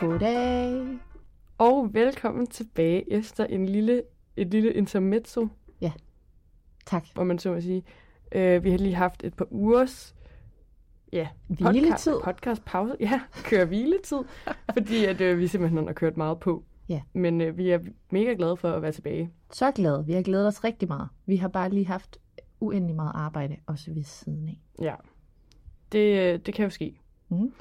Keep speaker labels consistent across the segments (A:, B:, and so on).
A: Goddag.
B: Og velkommen tilbage efter en lille, et lille intermezzo,
A: Tak.
B: hvor man så må sige. Øh, vi har lige haft et par ugers ja,
A: Hviletid.
B: Podca- podcast pause. Ja, kører hviletid, fordi at, øh, vi simpelthen har kørt meget på.
A: Ja.
B: Men øh, vi er mega glade for at være tilbage.
A: Så glade. Vi har glædet os rigtig meget. Vi har bare lige haft uendelig meget arbejde, også ved siden af.
B: Ja, det, øh, det kan jo ske.
A: Mm.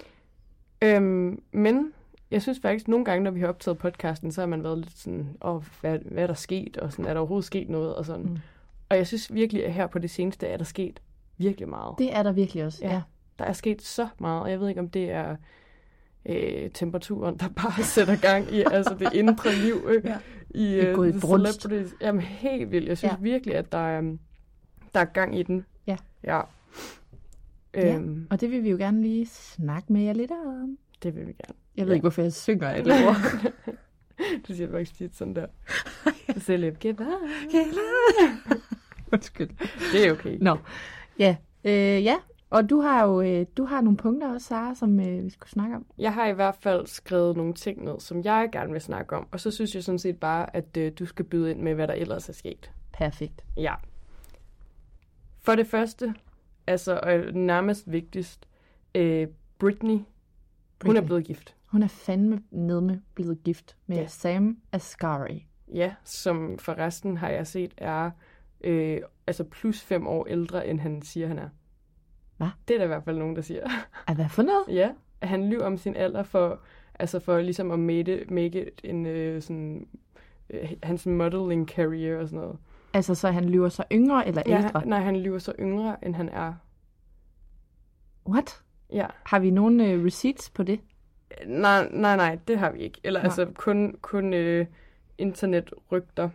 B: Øhm, men jeg synes faktisk, nogle gange, når vi har optaget podcasten, så har man været lidt sådan, åh, hvad, hvad er der sket, og sådan, er der overhovedet sket noget, og sådan.
A: Mm.
B: Mm. Og jeg synes virkelig, at her på det seneste er der sket virkelig meget.
A: Det er der virkelig også.
B: Ja. Der er sket så meget, og jeg ved ikke, om det er øh, temperaturen, der bare sætter gang i altså det indre liv øh,
A: Ja.
B: ja. i
A: er
B: øh,
A: gået i
B: the
A: brunst.
B: celebrities. Jamen helt vildt. Jeg synes
A: Ja.
B: ja. virkelig, at der er, øhm, der er gang i den.
A: Ja.
B: ja.
A: Ja.
B: Øhm,
A: Og det vil vi jo gerne lige snakke med jer lidt om.
B: Det vil vi gerne.
A: Jeg ved
B: Ja.
A: ikke, hvorfor jeg synger et ord.
B: Du siger faktisk tit sådan der. Celeb, get
A: Undskyld.
B: Det er okay.
A: Nå. Ja. Øh, ja. Og du har jo øh, du har nogle punkter også, Sara, som øh, vi skulle snakke om.
B: Jeg har i hvert fald skrevet nogle ting ned, som jeg gerne vil snakke om. Og så synes jeg sådan set bare, at øh, du skal byde ind med, hvad der ellers er sket.
A: Perfekt.
B: Ja. For det første, altså og nærmest vigtigst, øh, Britney, Britney, hun er
A: Britney.
B: blevet gift.
A: Hun er fandme nedme blevet gift med
B: Ja.
A: Sam Asghari.
B: Ja, som forresten har jeg set er øh, altså plus fem år ældre, end han siger, han er.
A: Hva?
B: Det er der i hvert fald nogen, der siger.
A: Er hvad for noget?
B: ja, han lyver om sin alder for, altså for ligesom at made, make it en øh, sådan, øh, hans modeling career og sådan noget.
A: Altså, så han lyver så yngre eller
B: Ja,
A: ældre?
B: han, nej, han lyver så yngre, end han er.
A: What?
B: Ja.
A: Har vi nogen øh, receipts på det?
B: Nej, nej, nej, det har vi ikke. Eller
A: Nej.
B: nej. altså kun, kun øh, internetrygter.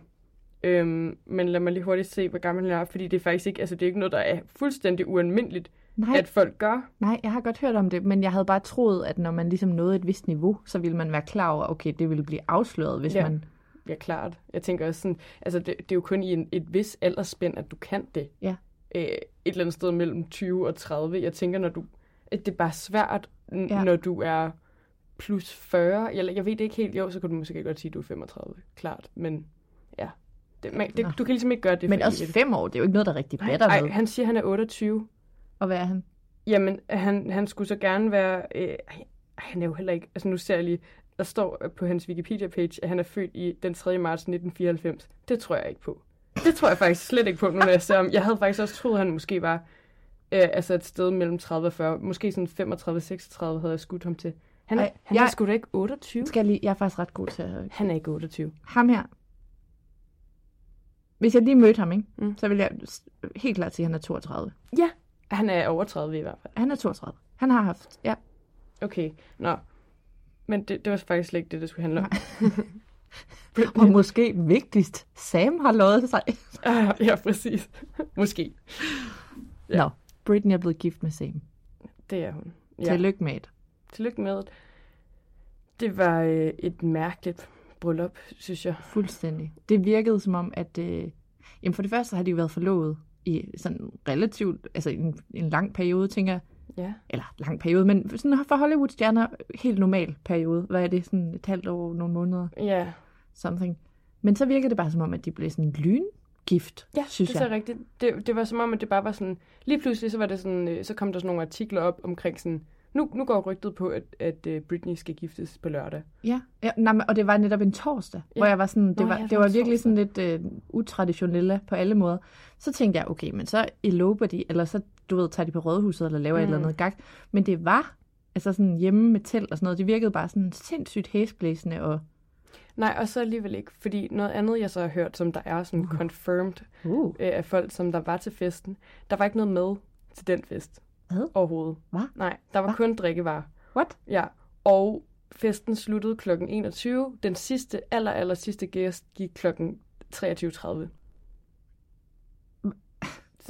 B: Øhm, men lad mig lige hurtigt se, hvor gammel han er, fordi det er faktisk ikke, altså det er ikke noget, der er fuldstændig ualmindeligt,
A: Nej,
B: Ej. at folk gør.
A: nej, jeg har godt hørt om det, men jeg havde bare troet, at når man ligesom nåede et vist niveau, så ville man være klar over, okay, det ville blive afsløret, hvis
B: Ja.
A: man...
B: Ja, klart. Jeg tænker også sådan, altså det, det er jo kun i en, et vis aldersspænd, at du kan det.
A: Ja.
B: Øh, et eller andet sted mellem 20 og 30. Jeg tænker, når du, at det er bare svært, n-
A: Ja.
B: ja. når du er plus 40, eller jeg ved det ikke helt, jo, så kunne du måske godt sige, at du er 35, klart, men ja. Det, man, det,
A: Nå.
B: du kan ligesom ikke gøre det
A: Men
B: for
A: også
B: evigt.
A: fem år, det er jo ikke noget, der rigtig batter
B: Ej,
A: noget.
B: han siger, han er 28.
A: Og hvad er han?
B: Jamen, han, han skulle så gerne være... Øh, ej, han er jo heller ikke... Altså, nu ser jeg lige... Der står øh, på hans Wikipedia-page, at han er født i den 3. marts 1994. Det tror jeg ikke på. Det tror jeg faktisk slet ikke på, nu når jeg ser ham. Jeg havde faktisk også troet, at han måske var øh, altså et sted mellem 30 og 40. Måske sådan 35-36 havde jeg skudt ham til. Han er,
A: Ej,
B: han
A: jeg-
B: er sgu da ikke 28.
A: Skal jeg, lige... jeg er faktisk ret god til at...
B: Han er ikke 28.
A: Ham her. Hvis jeg lige mødte ham, ikke? Mm.
B: Mm.
A: så ville jeg s- helt klart sige, at han er 32.
B: Ja, han er over 30 i hvert fald.
A: Han er 32. Han har haft... Ja,
B: Okay, nå. Men det, det var faktisk slet ikke det, det skulle handle om.
A: Og måske vigtigst, Sam har lovet sig.
B: Ah, ja, præcis. Måske.
A: Ja. Nå, Britney er blevet gift med Sam.
B: Det er hun. Ja.
A: Ja. Tillykke med det.
B: Tillykke med det. Det var øh, et mærkeligt bryllup, synes jeg.
A: Fuldstændig. Det virkede som om, at... Øh, jamen for det første har de jo været forlovet i sådan relativt, altså en, en lang periode, tænker jeg.
B: Ja.
A: Eller lang periode, men sådan for Hollywood-stjerner, helt normal periode. Hvad er det, sådan et halvt år, nogle måneder,
B: Ja,
A: something. Men så virker det bare som om, at de blev sådan lyngift,
B: ja
A: synes
B: det er
A: jeg.
B: så rigtigt. Det, det var som om, at det bare var sådan... Lige pludselig, så, var det sådan, øh, så kom der sådan nogle artikler op omkring sådan... Nu, nu går rygtet på, at, at øh, Britney skal giftes på lørdag.
A: Ja, ja nej, men, og det var netop en torsdag, ja.
B: Ja.
A: hvor jeg var sådan, det,
B: Nå,
A: var,
B: ja, det
A: det
B: var
A: var
B: en
A: virkelig sådan lidt øh, utraditionelle på alle måder. Så tænkte jeg, okay, men så eloper de, eller så, du ved, tager de på rådhuset eller laver mm. et eller
B: Mm.
A: andet gag. Men det var, altså sådan hjemme med telt og sådan noget, det virkede bare sådan sindssygt hæsblæsende, og
B: Nej, og så alligevel ikke, fordi noget andet, jeg så har hørt, som der er sådan
A: Uh-huh.
B: confirmed
A: uh,
B: øh, af folk, som der var til festen, der var ikke noget med til den fest
A: Hvad?
B: overhovedet.
A: Hva?
B: Nej, der var
A: Hva?
B: kun drikkevarer.
A: what?
B: Ja, og festen sluttede kl. 21. Den sidste, aller, aller sidste gæst gik kl. 23.30. Sygt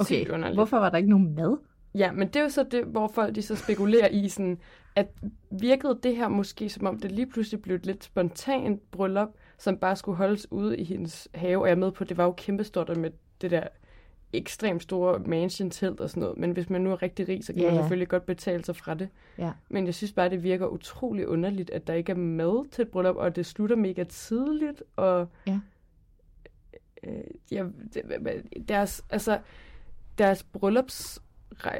A: Okay,
B: underligt.
A: hvorfor var der ikke nogen mad?
B: Ja, men det er jo så det, hvor folk de så spekulerer i, sådan, at virkede det her måske, som om det lige pludselig blev et lidt spontant bryllup, som bare skulle holdes ude i hendes have, og jeg er med på, at det var jo kæmpestort og med det der ekstremt store mansion-telt og sådan noget, men hvis man nu er rigtig rig, så kan
A: Ja,
B: yeah. man
A: ja.
B: selvfølgelig godt betale sig fra det.
A: Ja.
B: Men jeg synes bare, det virker utrolig underligt, at der ikke er mad til et bryllup, og det slutter mega tidligt, og
A: Ja.
B: øh, ja, det- deres, altså, deres bryllups,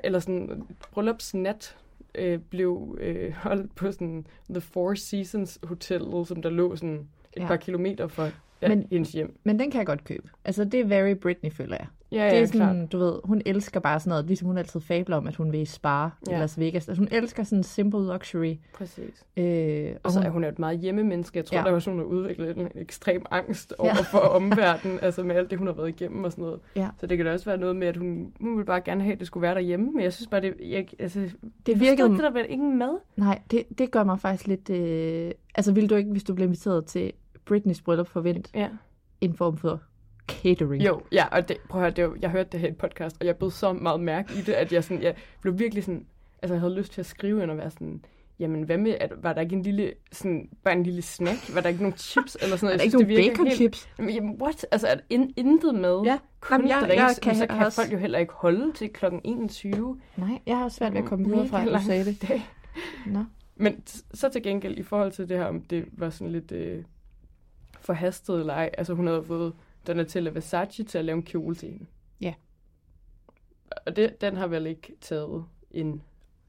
B: eller sådan, bryllupsnat øh, blev øh, holdt på sådan The Four Seasons Hotel, som der lå sådan et
A: Ja.
B: ja. par kilometer fra ja,
A: Men-
B: Men, hendes hjem.
A: Men den kan jeg godt købe. Altså, det er very Britney, føler jeg.
B: Ja,
A: det
B: ja,
A: er sådan,
B: klart.
A: du ved, hun elsker bare sådan noget, ligesom hun altid fabler om, at hun vil i Spa ja. i
B: Ja.
A: Las Vegas. Altså, hun elsker sådan simple luxury.
B: Præcis.
A: Øh,
B: Og så er Altså, hun jo et meget hjemmemenneske. Jeg tror,
A: Ja.
B: ja. der var sådan, hun har udviklet en ekstrem angst
A: Ja.
B: over for omverdenen, altså med alt det, hun har været igennem og sådan noget.
A: Ja.
B: Så det kan da også være noget med, at hun, hun ville bare gerne have, at det skulle være derhjemme, men jeg synes bare, det, jeg, altså,
A: det
B: virkede...
A: virkede,
B: det der vel ingen mad?
A: Nej, det, det gør mig faktisk lidt... Øh... Altså, ville du ikke, hvis du blev inviteret til Britneys bryllup, forvente
B: Ja.
A: en form for catering?
B: Jo, ja, og det, prøv at høre, det var, jeg hørte det her i et podcast, og jeg blev så meget mærke i det, at jeg, sådan, jeg blev virkelig sådan, altså jeg havde lyst til at skrive ind og være sådan, jamen hvad med, at, var der ikke en lille, sådan, bare en lille snack? Var der ikke nogen chips eller sådan noget?
A: Er der
B: Jeg
A: ikke
B: synes,
A: nogen
B: det virker
A: bacon chips?
B: Jamen, Jamen, what? Altså, at in, intet med?
A: Ja.
B: Kun
A: Jamen, jeg-
B: drinks,
A: jeg kan
B: men så kan
A: også-
B: folk jo heller ikke holde til kl. 21.
A: Nej, jeg har også svært ved at komme videre
B: Mega
A: fra, at du
B: lang
A: sagde det.
B: dag.
A: Nå.
B: Men s- så til gengæld, i forhold til det her, om det var sådan lidt øh, forhastet eller ej, altså hun havde fået Donatella Versace til at lave en kjole til hende.
A: Ja.
B: Og det, den har vel ikke taget en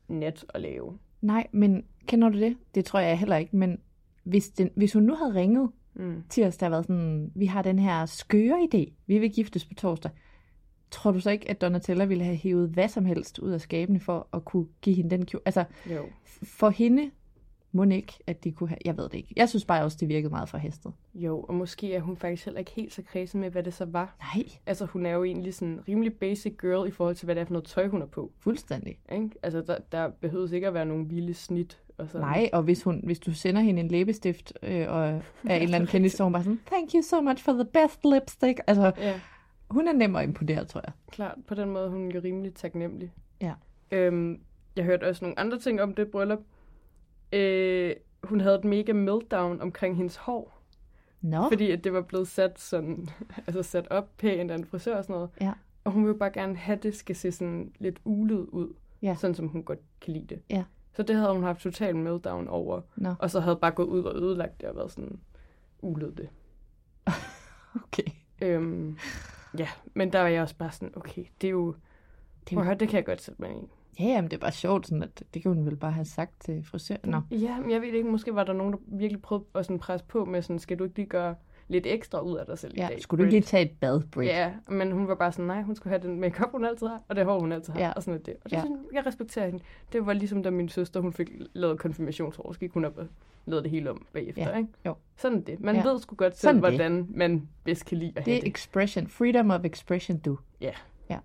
B: nat at lave.
A: Nej, men kender du det? Det tror jeg heller ikke, men hvis, den, hvis hun nu havde ringet
B: Mm.
A: tirsdag og været sådan, vi har den her skøre idé, vi vil giftes på torsdag, tror du så ikke, at Donatella ville have hævet hvad som helst ud af skabene for at kunne give hende den kjole? Altså,
B: Jo.
A: for hende må ikke, at de kunne have... Jeg ved det ikke. Jeg synes bare også, det virkede meget forhastet.
B: Jo, og måske er hun faktisk heller ikke helt så kredsen med, hvad det så var.
A: Nej,
B: Altså, hun er jo egentlig sådan rimelig basic girl i forhold til, hvad det er for noget tøj, hun er på.
A: fuldstændig.
B: Ikke? Altså, der, der behøves ikke at være nogen vilde snit. Og sådan.
A: Nej, og hvis, hun, hvis du sender hende en læbestift øh, og er en eller anden kendis, så er hun bare sådan, thank you so much for the best lipstick. Altså,
B: Ja,
A: hun er nem at imponere, tror jeg.
B: klart. På den måde, hun er rimelig taknemmelig.
A: Ja.
B: Øhm, jeg hørte også nogle andre ting om det bryllup. Øh, hun havde et mega meltdown omkring hendes hår,
A: Nå,
B: fordi at det var blevet sat, sådan, altså sat op pænt af en frisør og sådan noget.
A: Ja.
B: Og hun ville bare gerne have, at det skal se sådan lidt ulet ud,
A: Ja.
B: sådan som hun godt kan lide det.
A: Ja.
B: Så det havde hun haft total meltdown over,
A: Nå.
B: og så havde bare gået ud og ødelagt det og været sådan, ulet det.
A: okay.
B: Øhm, ja, men der var jeg også bare sådan, okay, det er jo...
A: er jo-
B: Det, høre, det kan jeg godt sætte mig ind i.
A: Ja, jamen, det er bare sjovt, sådan at det kan hun vel bare have sagt til frisøren. Nå.
B: Ja, men jeg ved ikke, måske var der nogen, der virkelig prøvede at sådan presse på med sådan, skal du ikke lige gøre lidt ekstra ud af dig selv i
A: Ja,
B: dag?
A: skulle du ikke
B: Brit?"
A: lige tage et bad, Britt?
B: Ja, men hun var bare sådan, nej, hun skulle have den makeup hun altid har, og det hår, hun altid har,
A: Ja.
B: ja. og sådan noget det. Og det,
A: Ja.
B: ja. jeg respekterer hende. Det var ligesom, da min søster, hun fik lavet konfirmationshår, så gik hun op og lavede det hele om bagefter,
A: Ja,
B: ikke?
A: jo.
B: Sådan er det. Man
A: Ja.
B: ja. ved sgu godt selv,
A: Sådan
B: sådan
A: er det.
B: hvordan man bedst kan lide at
A: Det
B: have
A: er
B: det.
A: expression. Freedom of expression, du.
B: Ja.
A: Ja.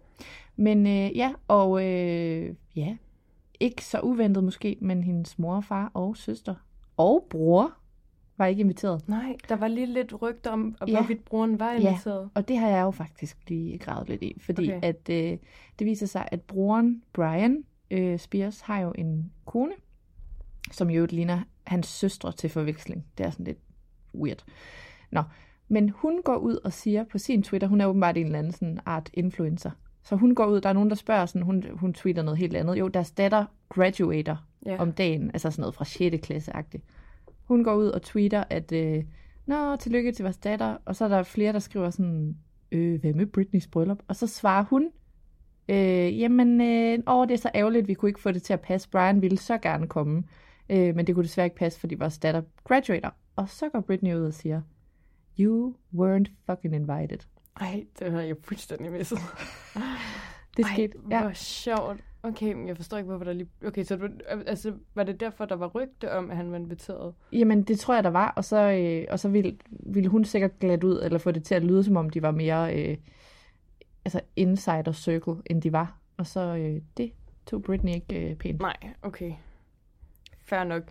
A: Men øh, ja, og øh, ja, ikke så uventet måske, men hendes mor, far og søster og bror var ikke inviteret.
B: Nej, der var lige lidt rygter om, om
A: Ja.
B: ja. hvorvidt broren var inviteret.
A: Og det har jeg jo faktisk lige gravet lidt i, fordi okay.
B: Okay.
A: at øh, det viser sig, at broren Brian øh, Spears har jo en kone, som jo ligner hans søstre til forveksling. Det er sådan lidt weird. Nå, men hun går ud og siger på sin Twitter, hun er åbenbart en eller anden sådan art influencer, så hun går ud, der er nogen, der spørger, sådan, hun, hun tweeter noget helt andet. Jo, deres datter graduater
B: Ja.
A: om dagen, altså sådan noget fra 6. klasse-agtigt. Hun går ud og tweeter, at øh, Nå, tillykke til vores datter. Og så er der flere, der skriver sådan, øh, hvad med Britneys bryllup? Og så svarer hun, øh, jamen, øh, åh, det er så ærgerligt, vi kunne ikke få det til at passe. Brian ville så gerne komme, øh, men det kunne desværre ikke passe, fordi vores datter graduater. Og så går Britney ud og siger, you weren't fucking invited.
B: Ej, det havde jeg fuldstændig misset.
A: Det
B: Ej,
A: skete,
B: ja. hvor sjovt. Okay, men jeg forstår ikke, hvorfor der lige... Okay, så det var- altså, var det derfor, der var rygte om, at han var inviteret?
A: Jamen, det tror jeg, der var, og så, øh, og så ville, ville hun sikkert glat ud, eller få det til at lyde, som om de var mere øh, altså insider circle, end de var. Og så øh, det tog Britney ikke øh, pænt.
B: Nej, okay. Fair nok.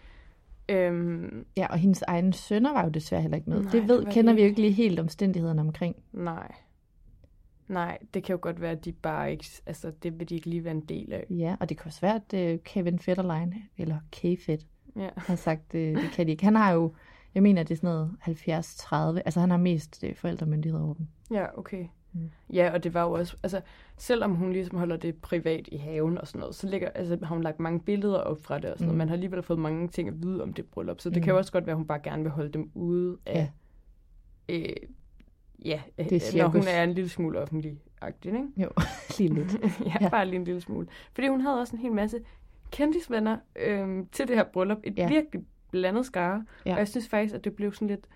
B: Øhm,
A: Ja, og hendes egen sønner var jo desværre heller ikke med.
B: Nej,
A: det
B: det
A: ved,
B: var
A: kender
B: de
A: vi jo ikke lige helt omstændighederne omkring.
B: nej. Nej, det kan jo godt være, at de bare ikke... Altså, det vil de ikke lige være en del af.
A: Ja, og det kan også være, at øh, Kevin Federline, eller K-Fed,
B: Ja.
A: har sagt, øh, det kan de ikke. Han har jo, jeg mener, det er sådan noget 70-30, altså han har mest øh, forældremyndighed over dem.
B: Ja, okay. Ja, og det var jo også, altså, selvom hun ligesom holder det privat i haven og sådan noget, så ligger, altså, har hun lagt mange billeder op fra det og sådan mm. noget. Man har alligevel fået mange ting at vide om det bryllup, så det mm. kan jo også godt være, at hun bare gerne vil holde dem ude af, ja, øh, ja øh,
A: Det er
B: når hun
A: cirkus.
B: er en lille smule offentlig-agtig, ikke?
A: Jo, lige lidt.
B: ja,
A: Ja.
B: ja, bare lige en lille smule. Fordi hun havde også en hel masse kendtisvenner øhm, til det her bryllup. Et
A: Ja.
B: ja. virkelig blandet skare.
A: Ja.
B: Ja. Og jeg synes faktisk, at det blev sådan lidt...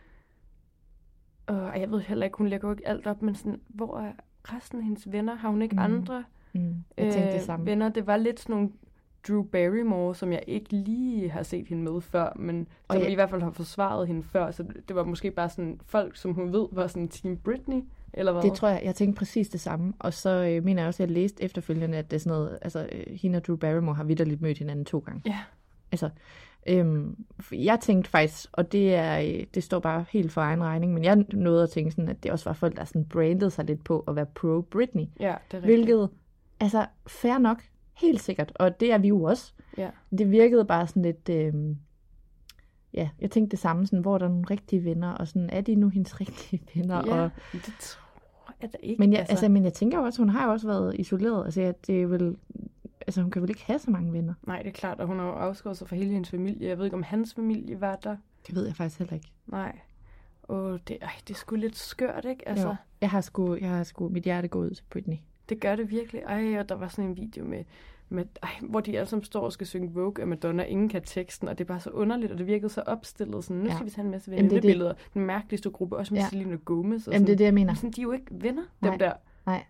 B: Øh, og jeg ved heller ikke, hun lægger jo ikke alt op, men sådan, hvor er resten af hendes venner? Har hun ikke
A: Mhm.
B: mm. andre øh,
A: Mm, jeg tænkte det samme.
B: venner? Det var lidt sådan nogle Drew Barrymore, som jeg ikke lige har set hende med før, men
A: Og
B: som
A: jeg-
B: i hvert fald har forsvaret hende før, så det var måske bare sådan folk, som hun ved var sådan Team Britney, eller hvad?
A: Det tror jeg, jeg tænkte præcis det samme. Og så øh, mener jeg også, at jeg læste efterfølgende, at det er sådan noget, altså øh, hende og Drew Barrymore har vidderligt mødt hinanden to gange.
B: Ja.
A: Altså, øhm, for jeg tænkte faktisk, og det er øh, det står bare helt for egen regning, men jeg nåede at tænke sådan, at det også var folk, der sådan brandede sig lidt på at være pro-Britney.
B: Ja, det er rigtigt.
A: Hvilket, altså, fair nok, helt sikkert. Og det er vi jo også.
B: Ja.
A: Det virkede bare sådan lidt, øhm, ja, jeg tænkte det samme, sådan, hvor er der nogle rigtige venner, og sådan, er de nu hendes rigtige venner?
B: Ja,
A: Og,
B: men det tror jeg da ikke.
A: Men jeg, altså. Altså, men jeg tænker jo også, hun har jo også været isoleret. Altså, at det vil, altså hun kan vel ikke have så mange venner?
B: Nej, det er klart, og hun har jo afskåret sig fra hele hendes familie. Jeg ved ikke, om hans familie var der.
A: Det ved jeg faktisk heller ikke.
B: Nej. Åh, det, ej, det er sgu lidt skørt, ikke? Altså,
A: Altså. Jo. Jeg har sgu, jeg har sgu, mit hjerte går ud til Britney.
B: det gør det virkelig. Ej, og der var sådan en video med, med ej, hvor de alle sammen står og skal synge Vogue af Madonna. Ingen kan teksten, og det er bare så underligt, og det virkede så opstillet. Sådan, nu
A: Ja.
B: ja. skal vi tage en masse
A: Jamen, det er det.
B: venindebilleder. Den mærkeligste gruppe, også med
A: Ja.
B: ja. Selena Gomez. Og
A: Jamen, det er
B: sådan.
A: det, jeg mener.
B: Men sådan, de er jo ikke venner,
A: Nej.
B: dem der.
A: Nej.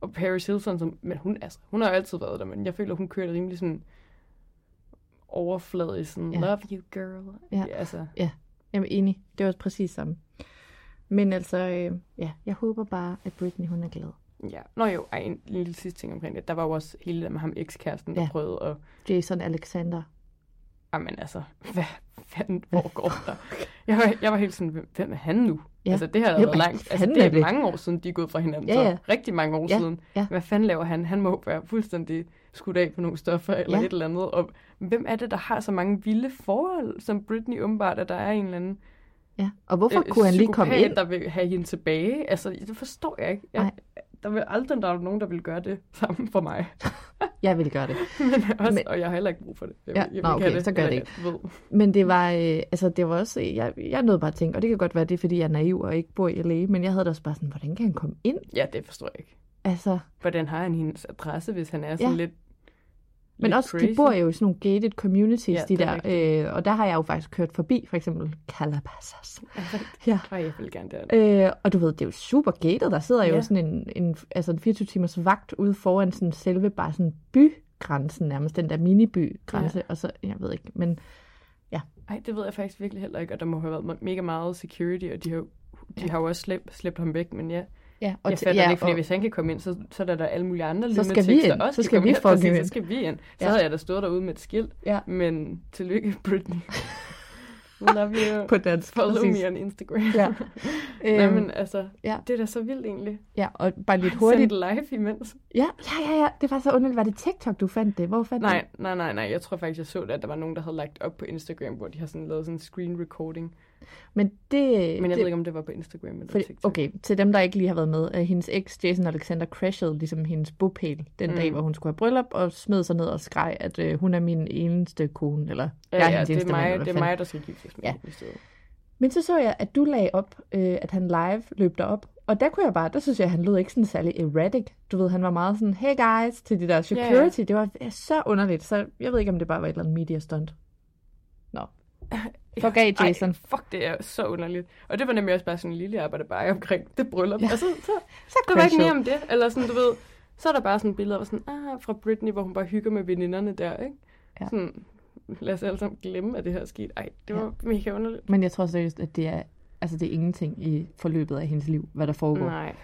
B: Og Paris Hilton, som, men hun, altså, hun har jo altid været der, men jeg føler, hun kørte rimelig sådan overfladisk, sådan,
A: Ja.
B: ja. love you girl.
A: Ja.
B: Altså,
A: Jamen, enig. Det var præcis samme. Men altså, øh, ja, jeg håber bare, at Britney, hun er glad.
B: ja. Nå jo, ej, en lille sidste ting omkring det. Der var jo også hele det der med ham ekskæresten, der
A: Ja.
B: ja. prøvede at,
A: Jason Alexander.
B: jamen altså, hvad fanden, hvor går der? Jeg var, jeg var helt sådan, hvem- hvem er han nu?
A: Ja.
B: Ja. Altså, det har
A: Hvem
B: været
A: er
B: langt. Altså,
A: fanden
B: det
A: er
B: er
A: det?
B: mange år siden, de er gået fra hinanden.
A: Ja, ja.
B: Så rigtig mange år
A: Ja,
B: siden.
A: ja.
B: Hvad fanden laver han? Han må være fuldstændig skudt af på nogle stoffer eller
A: Ja.
B: et eller andet. Og hvem er det, der har så mange vilde forhold, som Britney åbenbart, at der er en eller anden
A: Ja. Og hvorfor øh, kunne han lige komme
B: psykopat,
A: ind?
B: der vil have hende tilbage. Altså, det forstår jeg ikke. Jeg, der vil aldrig der er nogen, der vil gøre det sammen for mig.
A: Jeg ville gøre det.
B: Men også,
A: Men-
B: Men... Og jeg har heller ikke brug for det. Jeg,
A: Ja,
B: jeg vil
A: nå,
B: ikke
A: okay,
B: have
A: så gør det
B: eller
A: ikke.
B: jeg Ved.
A: Men det var, øh, altså det var også, jeg, jeg nåede bare at tænke, og det kan godt være, det er, fordi jeg er naiv og ikke bor i LA, men jeg havde da også bare sådan, hvordan kan han komme ind?
B: Ja, det forstår jeg ikke.
A: Altså,
B: Hvordan har han hendes adresse, hvis han er sådan
A: Ja.
B: ja. lidt
A: Men
B: lidt
A: også,
B: crazy?
A: de bor jo i sådan nogle gated communities,
B: Ja,
A: de
B: det er
A: der. Øh, og der har jeg jo faktisk kørt forbi, for eksempel Calabasas. Ja.
B: Ej, jeg vil gerne derind.
A: Øh, og du ved, det er jo super gated. Der sidder ja. jo
B: Ja.
A: sådan en, en, altså en 24 timers vagt ude foran sådan selve bare sådan bygrænsen nærmest, den der minibygrænse. Ja. Og så, jeg ved ikke, men Øh.
B: Ej, det ved jeg faktisk virkelig heller ikke, og der må have været mega meget security, og de har, jo- de har jo også slæbt, slæbt ham væk, men ja.
A: ja,
B: Og jeg fatter ja,
A: ja,
B: det ikke, fordi
A: og,
B: hvis han kan komme ind, så, så er der, der alle mulige andre
A: Så skal
B: lunatics,
A: vi ind.
B: der også
A: Så
B: kan
A: skal
B: komme
A: vi
B: ind. Præcis,
A: fucking ind.
B: Så skal vi ind. Så
A: Ja.
B: havde jeg da stået derude med et skilt.
A: Ja.
B: Men tillykke, Britney. Love you.
A: på dansk.
B: Follow
A: præcis.
B: me on Instagram.
A: Ja.
B: Nej,
A: Øhm,
B: men altså,
A: ja.
B: det er da så vildt egentlig.
A: ja, og bare lidt
B: Hurtigt
A: hurtigt.
B: live imens.
A: Ja, ja, ja, ja. Det var så underligt. Var det TikTok, du fandt det? Hvor fandt
B: Nej, nej, nej, nej. Jeg tror faktisk, jeg så det, at der var nogen, der havde lagt op på Instagram, hvor de har sådan lavet sådan en screen recording.
A: det? Men det...
B: Men jeg
A: det,
B: ved ikke, om det var på Instagram eller
A: fordi,
B: TikTok.
A: okay, til dem, der ikke lige har været med. øh, Hendes eks, Jason Alexander, crashede ligesom hendes bopæl den
B: Mm.
A: mm. dag, hvor hun skulle have bryllup, og smed sig ned og skreg, at øh, hun er min eneste kone, eller
B: Ja,
A: jeg er
B: ja,
A: hendes
B: det er
A: eneste mand,
B: mig,
A: eller hvad
B: det er
A: fanden.
B: mig der skal giftes med
A: Ja.
B: hende i stedet.
A: Men så så jeg, at du lagde op, øh, at han live løb derop. Og der kunne jeg bare, der synes jeg, at han lød ikke sådan særlig erratic. Du ved, han var meget sådan, hey guys, til de der security.
B: Ja, ja.
A: Det var øh, så underligt, så jeg ved ikke, om det bare var et eller andet media stunt. Nå. Fuck af, Jason.
B: Ej, fuck, det er så underligt. Og det var nemlig også bare sådan en lille arbejderbakke omkring det bryllup. Ja. Og så, så,
A: Så
B: der var ikke
A: crashede.
B: mere om det. Eller sådan, du ved, så er der bare sådan billeder af sådan, ah, fra Britney, hvor hun bare hygger med veninderne der, ikke? Ja.
A: Ja.
B: Sådan, lad os alle sammen glemme, at det her er sket. Ej, det var ja. mega underligt.
A: Men jeg tror seriøst, at det er, altså, det er ingenting i forløbet af hendes liv, hvad der foregår.
B: Nej,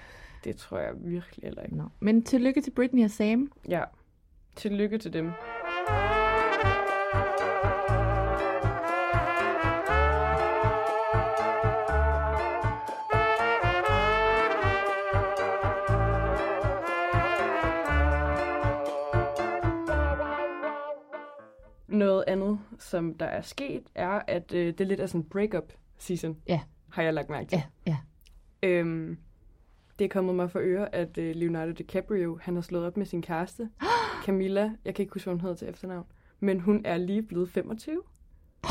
B: det tror jeg virkelig heller ikke.
A: Nå. Men tillykke til Britney og Sam.
B: Ja, tillykke til dem. Noget andet, som der er sket, er, at øh, det lidt er sådan break-up season,
A: Ja.
B: har jeg lagt mærke til.
A: Ja, ja.
B: Øhm, det er kommet mig for øre, at øh, Leonardo DiCaprio, han har slået op med sin kæreste, Camilla. Jeg kan ikke huske, hvad hun hedder til efternavn. Men hun er lige blevet 25.
A: Oh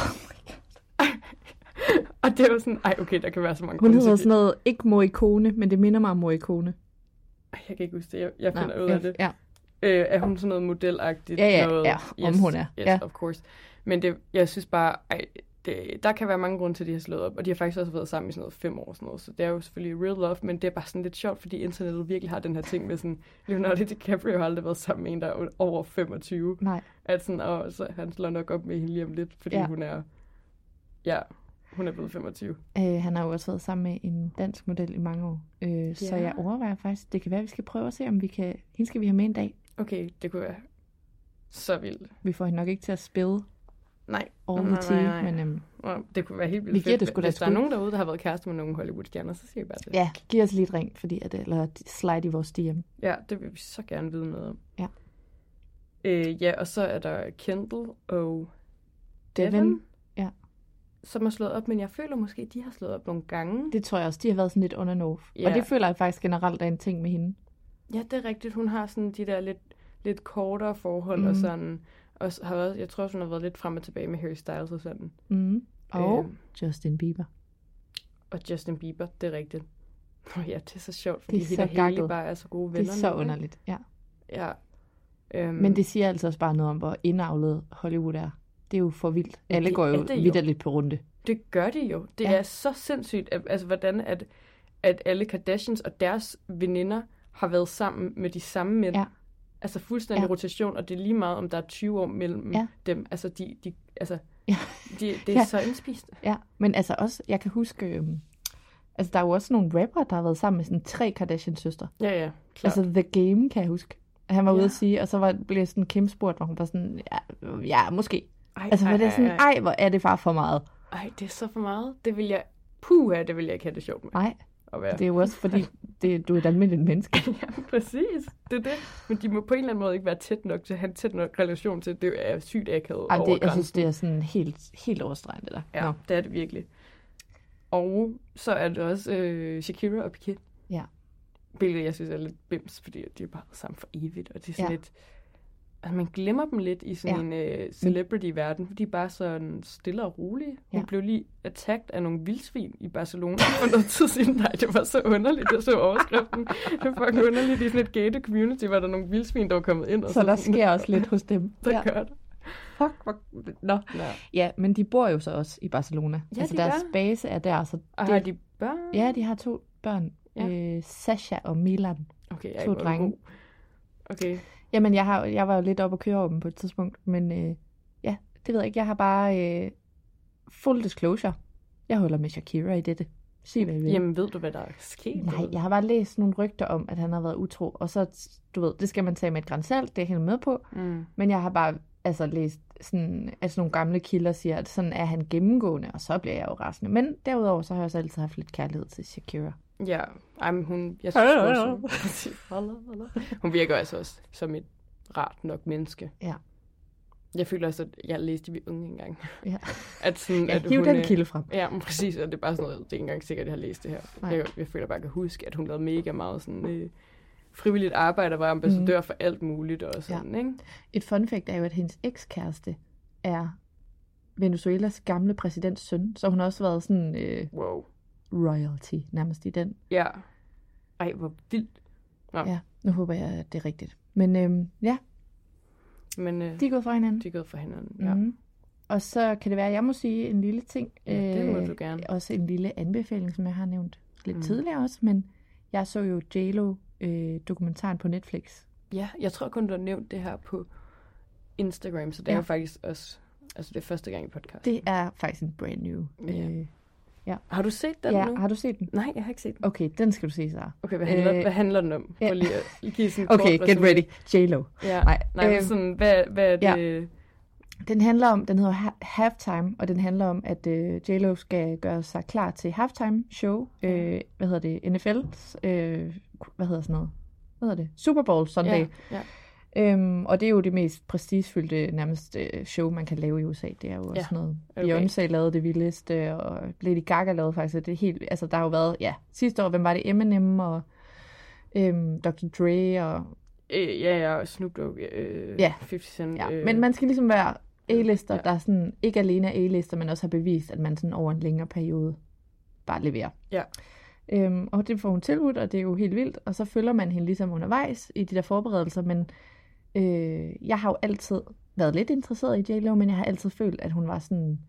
B: og det er jo sådan, ej okay, der kan være så
A: Hun
B: mange grunde til
A: hedder
B: det.
A: sådan noget, ikke Morricone, men det minder mig om Morricone.
B: Ej, Jeg kan ikke huske det, jeg, jeg
A: Nå,
B: finder ud af det.
A: Ja,
B: Øh, er hun sådan noget modelagtigt?
A: Ja, ja,
B: noget?
A: ja, om
B: yes,
A: hun er,
B: Yes,
A: ja.
B: of course. Men det, jeg synes bare, ej, det, der kan være mange grunde til, at de har slået op. Og de har faktisk også været sammen i sådan noget fem år. og Sådan noget, så det er jo selvfølgelig real love, men det er bare sådan lidt sjovt, fordi internettet virkelig har den her ting med sådan, Leonardo DiCaprio har aldrig været sammen med en, der er over 25.
A: nej.
B: At sådan, og så han slår nok op med hende lige om lidt, fordi ja.
A: Ja.
B: hun er, ja, hun er blevet 25.
A: Øh, han har jo også været sammen med en dansk model i mange år. Øh, ja. Så
B: Ja.
A: jeg overvejer faktisk, det kan være, at vi skal prøve at se, om vi kan... Hende skal vi have med en dag.
B: Okay, det kunne være så vildt.
A: Vi får hende nok ikke til at spille
B: Nej,
A: all
B: Nej,
A: the
B: nej,
A: tea,
B: nej.
A: men øhm,
B: Nå, det kunne være helt vildt
A: Vi giver
B: fedt,
A: det sgu da
B: Hvis
A: et
B: der er
A: skud.
B: nogen derude, der har været kæreste med nogle Hollywood-stjerner, så siger vi bare det.
A: ja, giv os lige et ring, fordi at, eller slide i vores DM.
B: Ja, det vil vi så gerne vide noget om.
A: Ja.
B: Øh, ja, og så er der Kendall og Devin,
A: Devin, ja.
B: som har slået op, men jeg føler måske, at de har slået op nogle gange. Det...
A: det tror jeg også, de har været sådan lidt on and off.
B: Ja.
A: Og det føler jeg faktisk generelt er en ting med hende.
B: Ja, det er rigtigt. Hun har sådan de der lidt, lidt kortere forhold mm.
A: Mm.
B: og sådan. Og s- har også, jeg tror også, hun har været lidt frem og tilbage med Harry Styles og sådan.
A: Mm. Og
B: Øhm.
A: Justin Bieber.
B: Og Justin Bieber, det er rigtigt. Nå ja, det er så sjovt, fordi
A: så
B: Hit og Haley
A: gakket.
B: bare er så gode venner.
A: Det er så
B: nu, ikke? Mm.
A: underligt, ja.
B: Ja. Øhm,
A: Men det siger altså også bare noget om, hvor indavlet Hollywood er. Det er jo for vildt. Alle
B: det
A: går
B: er
A: jo
B: det jo.
A: vidderligt på runde.
B: Det gør de jo. Det ja.
A: Ja.
B: er så sindssygt, at, altså hvordan at, at alle Kardashians og deres veninder har været sammen med de samme mænd.
A: Ja.
B: Altså fuldstændig ja.
A: Ja.
B: rotation, og det er lige meget, om der er 20 år mellem ja.
A: Ja.
B: dem. Altså, de, de, altså
A: Ja.
B: de, det er ja.
A: Ja.
B: så indspist.
A: Ja, men altså også, jeg kan huske, øhm, altså der er jo også nogle rapper, der har været sammen med sådan tre Kardashian-søstre.
B: Ja, ja, klart.
A: Altså The Game, kan jeg huske. Han var ude
B: Ja.
A: at sige, og så var, blev sådan Kim spurgt, hvor hun var sådan, ja, øh, ja måske.
B: ej,
A: Altså, var det sådan,
B: ej,
A: ej, hvor er det bare for meget.
B: ej, det er så for meget. Det vil jeg, puha, det vil jeg ikke have det sjovt med
A: Nej,
B: at være.
A: det er jo også fordi, det, du er et almindeligt menneske.
B: Ja, præcis. Det er det. Men de må på en eller anden måde ikke være tæt nok til at have en tæt nok relation til. Det er sygt akavet
A: Ej,
B: over
A: det, altså, jeg synes,
B: grænsen.
A: det er sådan helt, helt overstregende der.
B: Ja,
A: Nå.
B: det er det virkelig. Og så er det også øh, Shakira og Piqué,
A: ja.
B: hvilket jeg synes er lidt bims, fordi de er bare sammen for evigt, og det er sådan
A: Ja.
B: ja. lidt... Altså, man glemmer dem lidt i sådan ja.
A: Ja. Mm.
B: en øh, celebrity-verden, fordi de er bare sådan stille og rolige. Hun ja.
A: Ja.
B: blev lige attacked af nogle vildsvin i Barcelona for noget tid siden. Nej, det var så underligt, jeg så overskriften. det var fucking underligt. I sådan et gated community var der nogle vildsvin, der var kommet ind. Og
A: Så der
B: sådan-
A: sker også lidt hos dem.
B: Der
A: Ja.
B: gør det.
A: Fuck, hvor... Nå.
B: Ja.
A: Ja, men de bor jo så også i Barcelona.
B: Ja,
A: altså
B: de
A: deres
B: gør.
A: base er der, så
B: Og har de børn?
A: Ja, de har to børn.
B: Ja.
A: Ja. Øh, Sasha og Milan.
B: Okay, jeg
A: to
B: er ikke
A: drenge.
B: god. Okay,
A: Jamen, jeg, har, jeg var jo lidt oppe og køre over dem på et tidspunkt, men øh, ja, det ved jeg ikke. Jeg har bare øh, full disclosure. Jeg holder med Shakira i dette. Sig hvad I vil.
B: Jamen, ved du, hvad der er sket?
A: Nej, jeg har bare læst nogle rygter om, at han har været utro, og så, du ved, det skal man tage med et grænsalt, det er jeg helt med på,
B: Mm.
A: men jeg har bare altså læst, sådan, at sådan nogle gamle kilder siger, at sådan er han gennemgående, og så bliver jeg jo rasende. Men derudover, så har jeg også altid haft lidt kærlighed til Shakira.
B: Ja, ej, men hun, jeg synes også, hun, hun virker altså også som et rart nok menneske.
A: Ja.
B: Jeg føler også, at jeg læste i Vi Unge engang.
A: Ja.
B: At sådan,
A: Jeg
B: at
A: hiver
B: hun,
A: den
B: øh,
A: kilde frem.
B: Ja, men præcis, og det er bare sådan noget, det er ikke engang sikkert, at jeg har læst det her.
A: Nej.
B: Jeg, jeg føler bare, at jeg kan huske, at hun lavede mega meget sådan, øh, frivilligt arbejde og var ambassadør mm.
A: Mhm.
B: for alt muligt og sådan, ja. ikke?
A: Et fun fact er jo, at hendes ekskæreste er Venezuelas gamle præsidents søn, så hun har også været sådan øh,
B: Wow.
A: royalty nærmest i den.
B: Ja. Ej, hvor vildt. Nå, ja.
A: Ja, nu håber jeg, at det er rigtigt. Men øhm, ja,
B: men øh,
A: de
B: de,
A: er gået fra hinanden.
B: de er gået fra hinanden. Ja. Mm.
A: Mhm. Og så kan det være, at jeg må sige en lille ting. øh,
B: Ja, det må du gerne.
A: Også en lille anbefaling, som jeg har nævnt lidt mm. tidligere også, men jeg så jo JLo-dokumentaren på Netflix.
B: ja, jeg tror kun, du har nævnt det her på Instagram, så det ja. er
A: Ja.
B: jo faktisk også, altså det er første gang i podcast. Det.
A: Det er faktisk en brand new.
B: Ja.
A: Øh,
B: Har du set den nu?
A: ja, har du set den?
B: Nej, jeg har ikke set den.
A: Okay, den skal du se, Sara.
B: Okay, hvad handler, øh,
A: Øh,
B: hvad handler den om?
A: ja.
B: Prøv lige at give sådan en
A: Okay,
B: kort
A: get
B: resumé.
A: ready. JLo.
B: Ja. Nej,
A: Nej,
B: Nej men
A: øhm,
B: sådan, hvad, hvad er
A: ja.
B: det?
A: Den handler om, den hedder Ha- Halftime, og den handler om, at øh, JLo skal gøre sig klar til halftime show. Øh, hvad hedder det? NFL's, øh, hvad hedder sådan noget? Hvad hedder det? Super Bowl Sunday.
B: Ja, ja.
A: Øhm, og det er jo det mest prestigefyldte nærmest øh, show, man kan lave i USA. Det er jo også
B: Ja,
A: sådan noget.
B: er du
A: Beyoncé lavede det vildeste, og Lady Gaga lavede faktisk det helt... Altså, der har jo været... Ja, sidste år, hvem var det? Eminem og øhm, Dr. Dre og...
B: Øh, ja, ja, og Snoop Dogg, øh,
A: Ja.
B: 50 Cent.
A: Ja.
B: øh,
A: Men man skal ligesom være A-lister,
B: Ja.
A: ja. der er sådan, ikke alene er A-lister, men også har bevist, at man sådan over en længere periode bare leverer.
B: Ja.
A: Øhm, og det får hun tilbudt, og det er jo helt vildt. Og så følger man hende ligesom undervejs i de der forberedelser, men øh, jeg har jo altid været lidt interesseret i JLo, men jeg har altid følt, at hun var sådan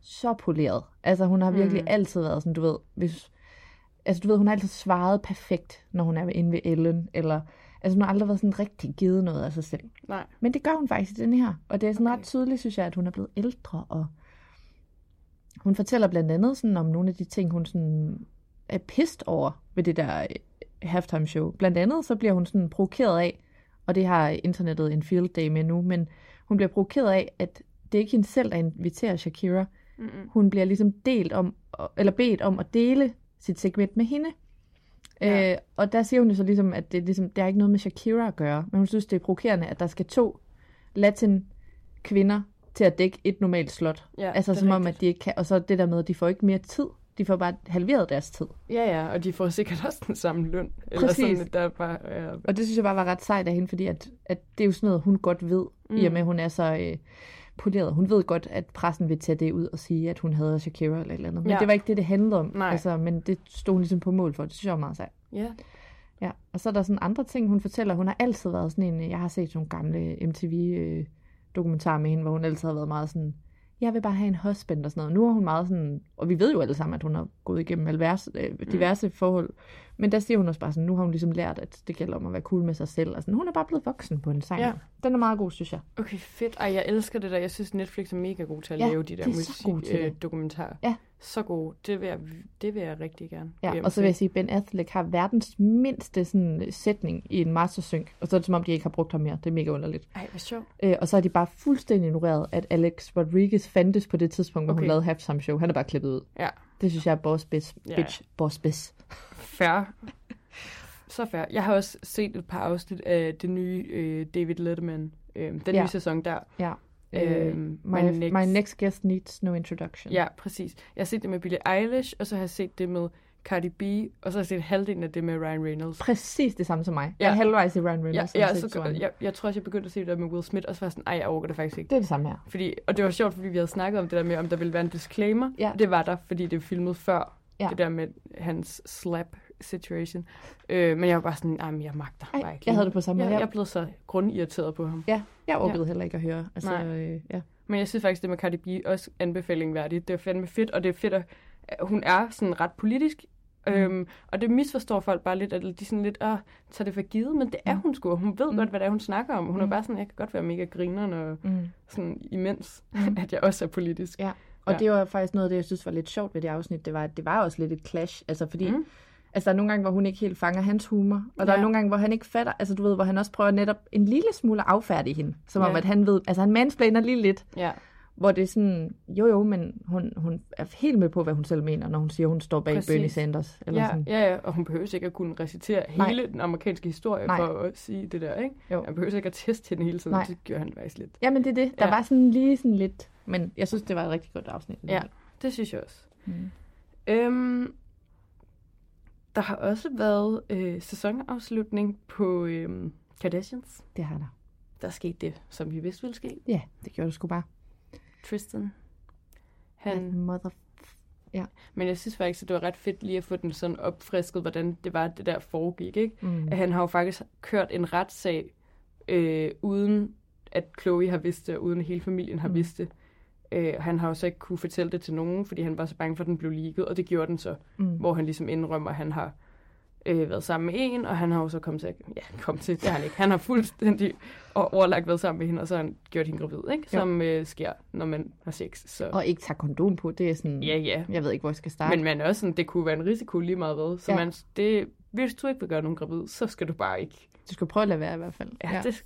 A: så poleret. Altså hun har virkelig
B: Mm.
A: mm. altid været sådan, du ved, hvis, altså du ved, hun har altid svaret perfekt, når hun er inde ved Ellen, eller altså hun har aldrig været sådan rigtig givet noget af sig selv.
B: Nej,
A: Men det gør hun faktisk i den her. Og det er sådan
B: Okay.
A: okay. ret tydeligt, synes jeg, at hun er blevet ældre. Og hun fortæller blandt andet sådan om nogle af de ting, hun sådan er pissed over ved det der øh, halftime show. Blandt andet så bliver hun sådan provokeret af, og det har internettet en field day med nu, men hun bliver provokeret af, at det er ikke hende selv, der inviterer Shakira.
B: Mm-mm.
A: Hun bliver ligesom delt om, eller bedt om at dele sit segment med hende.
B: Ja.
A: Ja. Øh, og der siger hun jo så ligesom, at det, er ligesom, det har ikke noget med Shakira at gøre, men hun synes, det er provokerende, at der skal to latin kvinder til at dække et normalt slot.
B: Ja,
A: altså
B: det er
A: som om,
B: rigtigt.
A: at de ikke kan, og så det der med, at de får ikke mere tid, de får bare halveret deres tid.
B: ja, ja, og de får sikkert også den samme løn. Eller
A: Præcis.
B: sådan, at der er bare, ja,
A: Og det synes jeg bare var ret sejt af hende, fordi at, at det er jo sådan noget, hun godt ved, mm. i og med, at hun er så øh, poleret. Hun ved godt, at pressen vil tage det ud og sige, at hun havde Shakira eller et eller andet. Men
B: Ja.
A: ja. det var ikke det, det handlede om.
B: Nej.
A: Altså, men det stod hun ligesom på mål for. Det synes jeg var meget sejt.
B: ja.
A: Ja, og så er der sådan andre ting, hun fortæller. Hun har altid været sådan en, øh, jeg har set nogle gamle MTV-dokumentarer øh, med hende, hvor hun altid har været meget sådan, jeg vil bare have en husband og sådan noget. Nu er hun meget sådan, og vi ved jo alle sammen, at hun har gået igennem alvers, øh, diverse mm. forhold, men der siger hun også bare sådan, nu har hun ligesom lært, at det gælder om at være cool med sig selv. Og sådan. Hun er bare blevet voksen på en sang.
B: Ja.
A: Den er meget god, synes jeg.
B: Okay, fedt. Ej, jeg elsker det der. Jeg synes, Netflix er mega god til at
A: Ja,
B: lave de der
A: de er så gode til det.
B: musikdokumentarer.
A: Ja.
B: Så gode. Det vil, jeg, det vil jeg rigtig gerne.
A: Ja,
B: hjem
A: og så vil
B: til.
A: jeg sige, at Ben Affleck har verdens mindste sådan, øh, sætning i en mastersync, og så er det som om, de ikke har brugt ham mere. Det er mega underligt.
B: Ej, hvor sjovt.
A: Øh, og så har de bare fuldstændig ignoreret, at Alex Rodriguez fandtes på det tidspunkt, hvor okay.
B: Okay.
A: hun lavede halftime show. Han er bare klippet ud.
B: Ja,
A: Det synes jeg er boss bitch.
B: Ja.
A: Ja. bitch boss bitch.
B: fair. Så fair. Jeg har også set et par afsnit af det nye øh, David Letterman. Øh, den ja.
A: Ja.
B: nye sæson der.
A: Ja.
B: Øh,
A: Øh,
B: my
A: my,
B: next-
A: next... my next guest needs no introduction.
B: Ja, præcis. Jeg har set det med Billie Eilish, og så har jeg set det med Cardi B, og så har jeg set halvdelen af det med Ryan Reynolds.
A: Præcis det samme som mig.
B: Ja.
A: Jeg er halvvejs i Ryan Reynolds.
B: ja,
A: som
B: ja,
A: set
B: så,
A: Joanna.
B: jeg, jeg tror også, jeg begyndte at se det der med Will Smith, og så var jeg sådan, ej, jeg overgår det faktisk ikke.
A: Det er det samme her.
B: Fordi, og det var sjovt, fordi vi havde snakket om det der med, om der ville være en disclaimer.
A: Ja.
B: Det var der, fordi det er filmet før.
A: Ja.
B: Det der med hans slap situation. Øh, men jeg var bare sådan, nej, men jeg magter ham
A: Ej,
B: bare ikke.
A: jeg havde det på samme
B: jeg,
A: måde.
B: jeg blev så grundirriteret på ham.
A: Ja, jeg orkede ja. heller ikke at høre. Altså,
B: Nej.
A: øh, ja.
B: Men jeg synes faktisk, det med Cardi B også anbefaling værdigt. Det er fandme fedt, og det er fedt, at at hun er sådan ret politisk. Mm. Øhm, og det misforstår folk bare lidt, at de sådan lidt, åh, tager det for givet, men det er hun sgu, og hun ved mm. godt, hvad det er, hun snakker om. Hun mm. er bare sådan, jeg kan godt være mega grineren, og mm.
A: Mm.
B: sådan imens, mm. at jeg også er politisk.
A: Ja, og
B: Ja.
A: ja. det var faktisk noget af det, jeg synes var lidt sjovt ved det afsnit, det var, at det var også lidt et clash, altså fordi mm. Altså, der er nogle gange, hvor hun ikke helt fanger hans humor, og der er
B: Ja.
A: nogle gange, hvor han ikke fatter, altså du ved, hvor han også prøver netop en lille smule at affærdige hende, som om,
B: Ja.
A: at han ved, altså han mansplaner lige lidt,
B: Ja.
A: hvor det er sådan, jo jo, men hun, hun er helt med på, hvad hun selv mener, når hun siger, hun står bag
B: Præcis.
A: Præcis. Bernie Sanders. Eller
B: Ja,
A: sådan.
B: ja, ja, og hun behøver ikke at kunne recitere
A: Nej.
B: hele den amerikanske historie
A: Nej.
B: for at sige det der, ikke?
A: Jo.
B: Han behøver ikke at teste hende hele tiden,
A: Nej.
B: det gør han faktisk lidt.
A: Jamen det er det, der
B: Ja.
A: ja. var sådan lige sådan lidt, men jeg synes, det var et rigtig godt afsnit.
B: Ja, det synes jeg også. Mm. Øhm, der har også været øh, sæsonafslutning på øh, Kardashians.
A: Det har der.
B: Der skete det, som vi vidste ville ske.
A: Ja, det gjorde du sgu bare.
B: Tristan. Han,
A: Mother...
B: Men jeg synes faktisk, at det var ret fedt lige at få den sådan opfrisket, hvordan det var, det der foregik. Ikke?
A: Mm.
B: At han har jo faktisk kørt en retssag, øh, uden at Chloe har vidst det, og uden at hele familien har mm. vidst det. Øh, han har jo så ikke kunne fortælle det til nogen, fordi han var så bange for, at den blev leaget, og det gjorde den så. Mm. Hvor han ligesom indrømmer, at han har øh, været sammen med en, og han har jo så kommet til, at, ja, kom til, det har han ikke. Han har fuldstændig og overlagt været sammen med hende, og så har han gjort hende gravid, ikke?
A: Jo.
B: Som øh, sker, når man har sex. Så
A: Og ikke tage kondom på, det er sådan...
B: ja, ja.
A: Jeg ved ikke, hvor jeg skal starte.
B: Men man er også sådan, det kunne være en risiko lige meget hvad. Så ja.
A: Ja.
B: man, det, hvis du ikke vil gøre nogen gravid, så skal du bare ikke.
A: Du skal prøve at lade være i hvert fald.
B: Ja, ja. Det,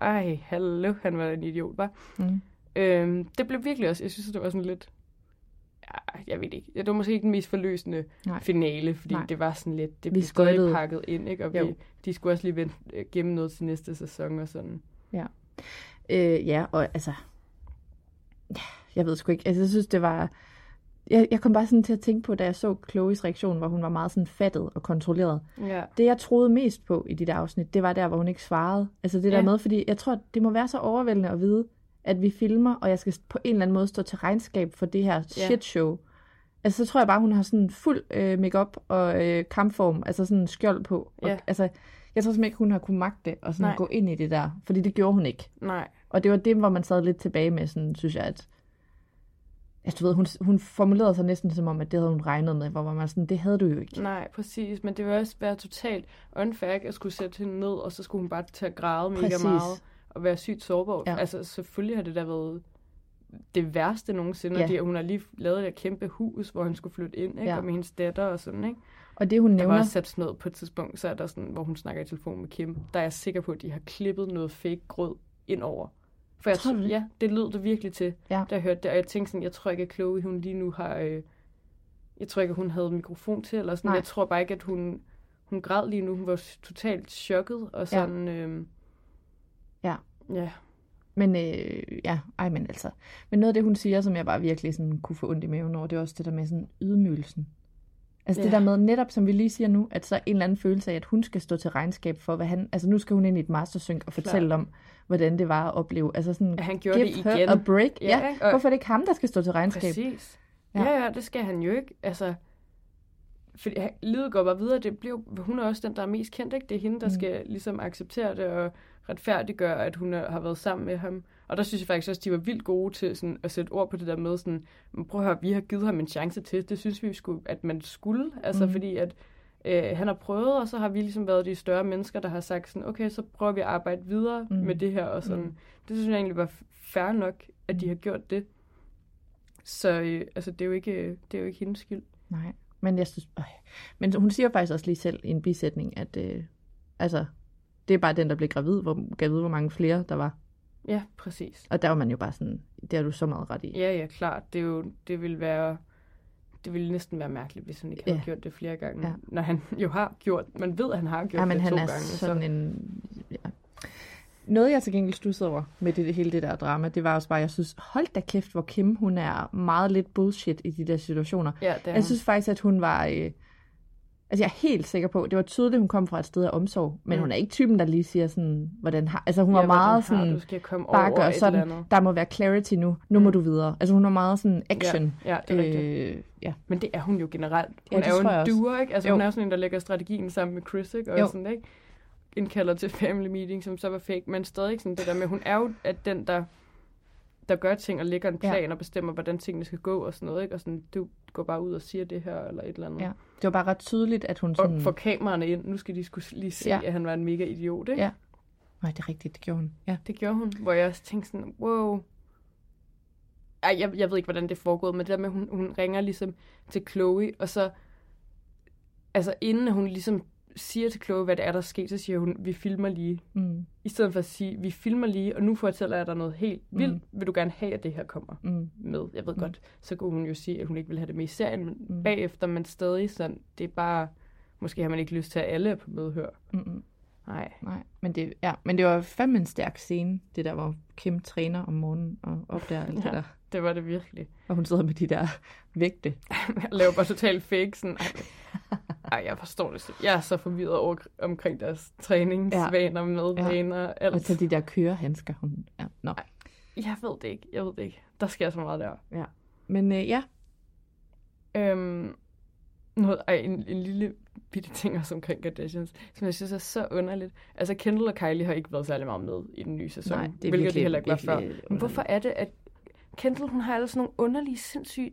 B: ej, hallo, han var en idiot, var.
A: Mm.
B: Øhm, det blev virkelig også, jeg synes, det var sådan lidt, ja, jeg ved ikke, det var måske ikke den mest forløsende Nej.
A: Nej.
B: finale, fordi Nej.
A: Nej.
B: det var sådan lidt,
A: Vi
B: det blev stadig
A: skøjtede.
B: pakket ind, ikke? og vi,
A: Jo.
B: de skulle også lige vente øh, gennem noget til næste sæson og sådan.
A: Øh, ja, og altså... ja, Jeg ved sgu ikke. Altså, jeg synes, det var... Jeg, jeg kom bare sådan til at tænke på, da jeg så Chloes reaktion, hvor hun var meget sådan fattet og kontrolleret.
B: Ja,
A: Det, jeg troede mest på i dit afsnit, det var der, hvor hun ikke svarede. Altså det
B: Ja.
A: der med, fordi jeg tror, det må være så overvældende at vide, at vi filmer, og jeg skal på en eller anden måde stå til regnskab for det her
B: Ja.
A: shit show. Altså så tror jeg bare, hun har sådan fuld øh, makeup og øh, kampform, altså sådan en skjold på. Og,
B: Ja.
A: Altså, jeg tror simpelthen ikke, hun har kunne magte det og sådan
B: Nej.
A: gå ind i det der, fordi det gjorde hun ikke.
B: Nej,
A: Og det var det, hvor man sad lidt tilbage med, sådan, synes jeg, at altså, du ved, hun, hun formulerede sig næsten som om, at det havde hun regnet med, hvor man var sådan, det havde du jo ikke.
B: Nej, præcis, men det ville også være totalt unfair ikke at skulle sætte hende ned, og så skulle hun bare til at græde mega
A: Præcis.
B: meget, og være sygt sårbar. Ja.
A: Ja.
B: Altså, selvfølgelig har det da været det værste nogensinde,
A: Ja.
B: ja. at hun har lige lavet det der kæmpe hus, hvor han skulle flytte ind, ikke? Ja.
A: Ja.
B: og med hendes datter og sådan, ikke?
A: Og det, hun
B: Der
A: nævner...
B: var også sat sådan noget på et tidspunkt, så er der sådan, hvor hun snakker i telefon med Kim, der er jeg sikker på, at de har klippet noget fake grød ind over. For jeg
A: Tror du det?
B: Ja, det lød det virkelig til,
A: Ja.
B: da jeg hørte det, og jeg tænkte sådan, jeg tror ikke, at Chloe, hun lige nu har, øh, jeg tror ikke, at hun havde mikrofon til, eller sådan,
A: Nej.
B: jeg tror bare ikke, at hun, hun græd lige nu, hun var s- totalt chokket, og sådan, ja. Øh,
A: Ja.
B: ja,
A: Men øh, ja, ej, men altså. Men noget af det, hun siger, som jeg bare virkelig sådan kunne få ondt i maven over, det er også det der med sådan ydmygelsen. Altså det
B: Ja.
A: der med netop, som vi lige siger nu, at så er en eller anden følelse af, at hun skal stå til regnskab for, hvad han... Altså nu skal hun ind i et mastersync og fortælle om, hvordan det var at opleve. Altså sådan,
B: At han gjorde
A: give
B: det
A: her
B: igen.
A: a break.
B: Ja,
A: Ja,
B: ikke? Og-
A: ja. hvorfor er det ikke ham, der skal stå til regnskab?
B: Præcis. Ja.
A: Ja.
B: ja, ja, det skal han jo ikke. Altså, fordi han- livet går bare videre. Det bliver, hun er også den, der er mest kendt, ikke? Det er hende, der mm. skal ligesom acceptere det og retfærdiggøre, at hun er, har været sammen med ham. Og der synes jeg faktisk også, de var vildt gode til sådan, at sætte ord på det der med, sådan, "Men prøv at høre, vi har givet ham en chance til. Det synes vi, skulle, at man skulle. Altså, mm. fordi at øh, han har prøvet, og så har vi ligesom været de større mennesker, der har sagt sådan, okay, så prøver vi at arbejde videre mm. med det her. Og sådan. Mm. Det synes jeg egentlig var fair nok, at de har gjort det. Så øh, altså, det, er jo ikke, øh, det er jo ikke hendes skyld.
A: Nej, men jeg synes... Øh. Men hun siger faktisk også lige selv i en bisætning, at øh, altså, det er bare den, der blev gravid, hvor, gravid, hvor mange flere der var.
B: Ja, præcis.
A: Og der var man jo bare sådan, det har du så meget ret i.
B: Ja, ja, klart. Det, er jo, det ville være... Det ville næsten være mærkeligt, hvis han ikke havde
A: Ja.
B: gjort det flere gange.
A: Ja.
B: Når han jo har gjort... Man ved, at han har gjort
A: Ja, men
B: det
A: han
B: to
A: er
B: gange.
A: sådan
B: så,
A: en... Ja. Noget, jeg til gengæld stussede over med det, hele det der drama, det var også bare, jeg synes, hold da kæft, hvor Kim, hun er meget lidt bullshit i de der situationer.
B: Ja, det er hun.
A: jeg synes faktisk, at hun var... Øh, altså, jeg er helt sikker på, det var tydeligt, at hun kom fra et sted af omsorg, men
B: Mm.
A: mm. hun er ikke typen, der lige siger sådan, hvordan har... Altså, hun var
B: Ja, hvordan har
A: meget sådan,
B: du? Skal jeg komme
A: bare
B: over
A: gør
B: et
A: sådan,
B: eller andet? Mm.
A: der må være clarity nu, nu må du videre. Altså, hun var meget sådan action.
B: Ja, ja, det er
A: øh, ja.
B: Men det er hun jo generelt.
A: Ja,
B: Hun
A: det
B: er jo
A: tror jeg
B: en
A: også.
B: doer, ikke? Altså, jo.
A: Jo.
B: hun er jo sådan en, der lægger strategien sammen med Chris, ikke? Og
A: Jo.
B: sådan, ikke? Indkalder til family meeting, som så var fake, men stadig sådan det der med, hun er jo at den, der, der gør ting og lægger en
A: Ja.
B: plan ja. og bestemmer, hvordan tingene skal gå og sådan noget, ikke? Og sådan, du går bare ud og siger det her, eller et eller andet.
A: ja. Det var bare ret tydeligt, at hun sådan...
B: Mm. Og får kameraerne ind. Nu skal de skulle lige se, ja.
A: Ja.
B: at han var en mega idiot, ikke?
A: Ja. Nej, det er rigtigt, det gjorde hun. Ja.
B: Det gjorde hun, hvor jeg også tænkte sådan, wow. Ej, jeg, jeg ved ikke, hvordan det foregået, men det der med, at hun, hun ringer ligesom til Chloe, og så altså inden hun ligesom siger til Chloe, hvad det er, der sker, så siger hun, vi filmer lige.
A: Mm,
B: I stedet for at sige, vi filmer lige, og nu fortæller jeg dig noget helt vildt. Vil du gerne have, at det her kommer
A: mm,
B: med? Jeg ved godt, så kunne hun jo sige, at hun ikke ville have det med i serien, men mm. bagefter, men stadig sådan, det er bare, måske har man ikke lyst til, at alle er på medhør.
A: mm, mm.
B: Nej.
A: Nej, men det, ja, men det var fandme en stærk scene, det der, hvor Kim træner om morgenen og opdager alt ja. det
B: Ja.
A: der.
B: Det var det virkelig.
A: Og hun sidder med de der vægte.
B: Jeg laver bare totalt fake, sådan, ej, ej, jeg forstår det. slet- Jeg er så forvirret over, omkring deres træningsvaner med
A: Ja.
B: vaner og alt.
A: Og så de der kørehandsker. Hun, ja, nå.
B: Jeg ved det ikke, jeg ved det ikke. Der sker så meget der.
A: Ja. Men øh, ja,
B: Øhm, noget, ej, en, en lille bitte ting også omkring Kardashians, som jeg synes er så underligt. Altså, Kendall og Kylie har ikke været særlig meget med i den nye sæson,
A: Nej, det er
B: hvilket
A: virkelig-
B: de heller ikke var før.
A: virkelig
B: Men hvorfor er det, at Kendall, hun har alle sådan nogle underlige, sindssyge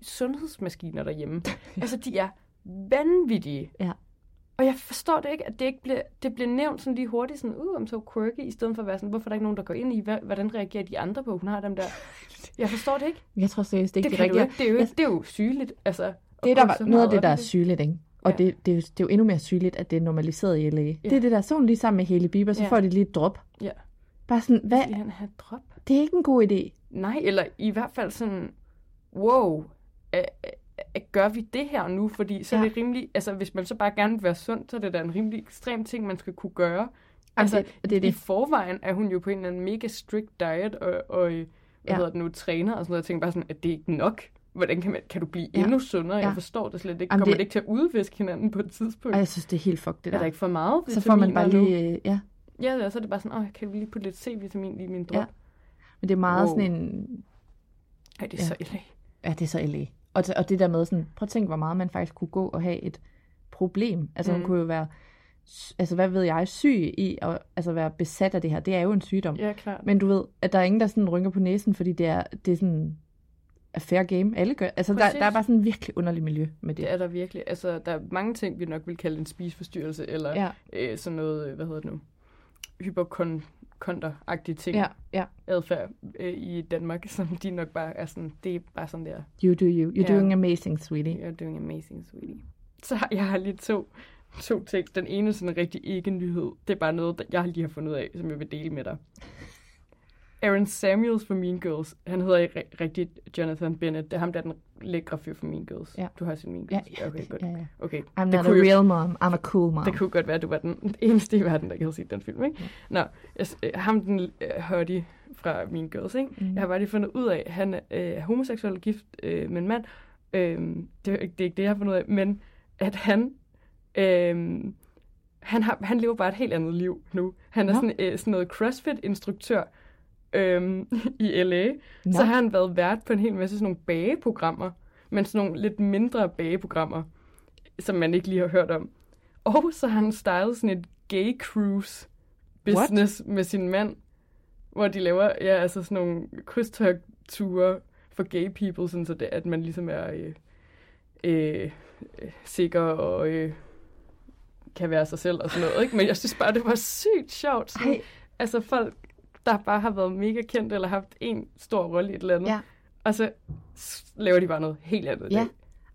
B: sundhedsmaskiner derhjemme? altså, de er vanvittige.
A: Ja.
B: Og jeg forstår det ikke, at det ikke blev, det blev nævnt sådan lige hurtigt, sådan, uh, om så quirky, i stedet for at være sådan, hvorfor er der ikke nogen, der går ind i, hvad, hvordan reagerer de andre på, hun har dem der. Jeg forstår det ikke.
A: jeg tror seriøst ikke,
B: Det,
A: det,
B: det,
A: er
B: kan du
A: rigtigt.
B: ikke. Det, er jo ikke, det er jo sygeligt. Altså, at
A: det der
B: gå så
A: var noget af
B: meget op
A: det, der
B: i
A: er sygeligt, ikke? Og
B: Ja.
A: ja. det, det, er jo, det er jo endnu mere sygeligt, at det er normaliseret i LA. Ja. Det er det der, så er hun lige sammen med Hailey Bieber, så
B: Ja.
A: ja. får de lige et drop.
B: Ja.
A: Bare sådan, hvad?
B: Vil han have drop?
A: Det er ikke en god idé.
B: Nej, eller i hvert fald sådan, wow, øh, øh, gør vi det her nu? Fordi så er
A: Ja.
B: det rimelig, altså hvis man så bare gerne vil være sund, så er det da en rimelig ekstrem ting, man skal kunne gøre. Altså,
A: det- det er
B: i
A: det.
B: forvejen er hun jo på en eller anden mega strict diet, og, og øh, hvad
A: Ja.
B: hedder det nu, træner og sådan noget. Jeg tænker bare sådan, at det er ikke nok. Hvordan kan, man, kan du blive
A: Ja.
B: endnu sundere?
A: Ja.
B: Jeg forstår det slet ikke.
A: Jamen,
B: Kommer det...
A: det-
B: det ikke til at udviske hinanden på et tidspunkt?
A: Og jeg synes, det er helt fucked, det
B: Er der
A: der.
B: ikke for meget
A: Så får man
B: vitaminer
A: bare
B: nu?
A: lige, øh, ja,
B: Ja, ja, så er det bare sådan, åh, kan vi lige putte lidt C-vitamin i min drop? Ja.
A: Ja. men det er meget
B: Wow.
A: wow. sådan en,
B: Ej, det er
A: Ja.
B: så ille.
A: ja, det er så LA. Og, t- og det der med sådan, prøv at tænke, hvor meget man faktisk kunne gå og have et problem. Altså mm.
B: Mm.
A: hun kunne jo være, s- altså hvad ved jeg, syg i at altså, være besat af det her. Det er jo en sygdom.
B: Ja, klart.
A: Men du ved, at der er ingen, der sådan rynker på næsen, fordi det er, det er sådan er fair game. Alle gør. Altså, der,
B: Præcis.
A: der er bare sådan en virkelig underlig miljø med det.
B: Det er der virkelig. Altså, der er mange ting, vi nok vil kalde en spiseforstyrrelse, eller ja.
A: Ja.
B: øh, sådan noget, øh, hvad hedder det nu, hypokonter-agtige ting, ja.
A: Ja, ja.
B: adfærd øh, i Danmark, som de nok bare er sådan, det er bare sådan der,
A: You do you. You're
B: Ja.
A: ja. doing amazing, sweetie.
B: you're doing amazing, sweetie. Så har- jeg har lige to, to ting. Den ene er sådan en rigtig ikke-nyhed. Det er bare noget, der- jeg lige har fundet ud af, som jeg vil dele med dig. Aaron Samuels fra Mean Girls, han hedder i ri- rigtigt Jonathan Bennett. Det er ham, der er den lækre fyr fra Mean Girls.
A: Ja.
B: Du har set Mean
A: Ja,
B: Girls?
A: ja,
B: okay,
A: det-
B: godt.
A: ja, ja.
B: Okay.
A: I'm
B: det
A: not a
B: kunne jo-
A: real mom. I'm a cool mom.
B: Det kunne godt være, at du var den eneste i verden, der havde set den film, ikke? Nå, jeg, s- øh, ham den øh, hottie fra Mean Girls, ikke? Mm. Jeg har bare lige fundet ud af, at han øh, er homoseksuel og gift øh, med en mand. Øh, det, er jo ikke, det er ikke det, jeg har fundet ud af, men at han... Øh, han, har, han lever bare et helt andet liv nu. Han er
A: Nå.
B: sådan, øh, sådan noget CrossFit-instruktør øhm, i LA. Nå. Så har han været vært på en hel masse sådan nogle bageprogrammer, men sådan nogle lidt mindre bageprogrammer, som man ikke lige har hørt om. Og så har han startet sådan et gay cruise business What? med sin mand, hvor de laver ja, altså sådan nogle krydstogture for gay people, sådan så det, at man ligesom er øh, øh, øh, sikker og øh, kan være sig selv og sådan noget. Ikke? Men jeg synes bare, det var sygt sjovt. Sådan,
A: Ej.
B: Altså folk, der bare har været mega kendt eller haft en stor rolle i et eller andet,
A: Ja.
B: og så s- laver de bare noget helt andet. i
A: Ja.
B: dag.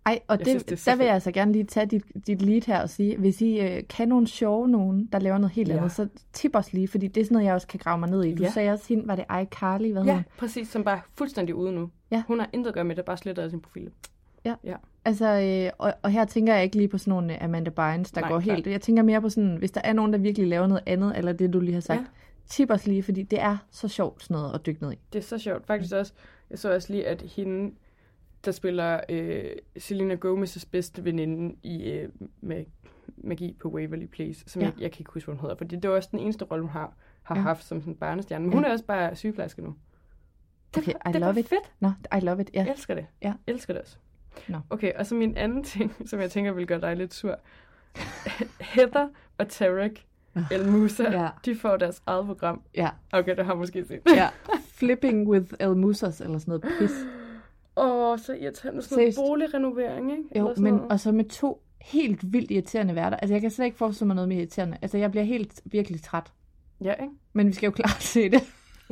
A: Ej, og det,
B: synes,
A: synes,
B: det er
A: det
B: så
A: der vil
B: fedt.
A: jeg altså gerne lige tage dit, dit lead her og sige, hvis I øh, kan nogle sjove nogen, der laver noget helt
B: Ja.
A: ja. andet, så tip os lige, fordi det er sådan noget, jeg også kan grave mig ned i. Du
B: Ja.
A: ja. sagde også hende, var det iCarly, hvad ja.
B: ja,
A: hun?
B: præcis, som bare er fuldstændig ude nu.
A: Ja.
B: Hun har intet at gøre med det, bare sletter af sin profil.
A: Altså, øh, og, og her tænker jeg ikke lige på sådan nogle øh, Amanda Bynes, der
B: Nej,
A: Nej, går
B: klart.
A: helt... Jeg tænker mere på sådan, hvis der er nogen, der virkelig laver noget andet, eller det, du lige har sagt,
B: Ja.
A: ja. tip os lige, fordi det er så sjovt sådan noget at dykke ned i.
B: Det er så sjovt. Faktisk også, jeg så også lige, at hende, der spiller øh, Selena Gomez' bedste veninde i øh, med Magi på Waverly Place, som ja.
A: Ja.
B: jeg, jeg kan ikke huske, hvad hun hedder, fordi det var også den eneste rolle, hun har, har ja.
A: Ja.
B: haft som sådan barnestjerne. Men hun er også bare sygeplejerske nu. Det,
A: Okay,
B: var-
A: I
B: det
A: love
B: var
A: it.
B: fedt.
A: Nå, I love it, ja.
B: Jeg elsker det.
A: Ja.
B: Jeg elsker det også.
A: Nå.
B: Okay, og så min anden ting, som jeg tænker vil gøre dig lidt sur. Heather og Tarek El Musa,
A: Ah. Ja.
B: de får deres eget program.
A: Ja,
B: Okay, det har jeg måske set.
A: ja. Flipping with El Musas, eller sådan noget pis.
B: Åh, så irriterende. Sådan noget
A: Seriøst?
B: boligrenovering, ikke?
A: Jo,
B: Eller sådan
A: men
B: noget.
A: og så med to helt vildt irriterende værter. Altså, jeg kan slet ikke forestille mig noget mere irriterende. Altså, jeg bliver helt virkelig træt.
B: Ja, ikke?
A: Men vi skal jo klart se det.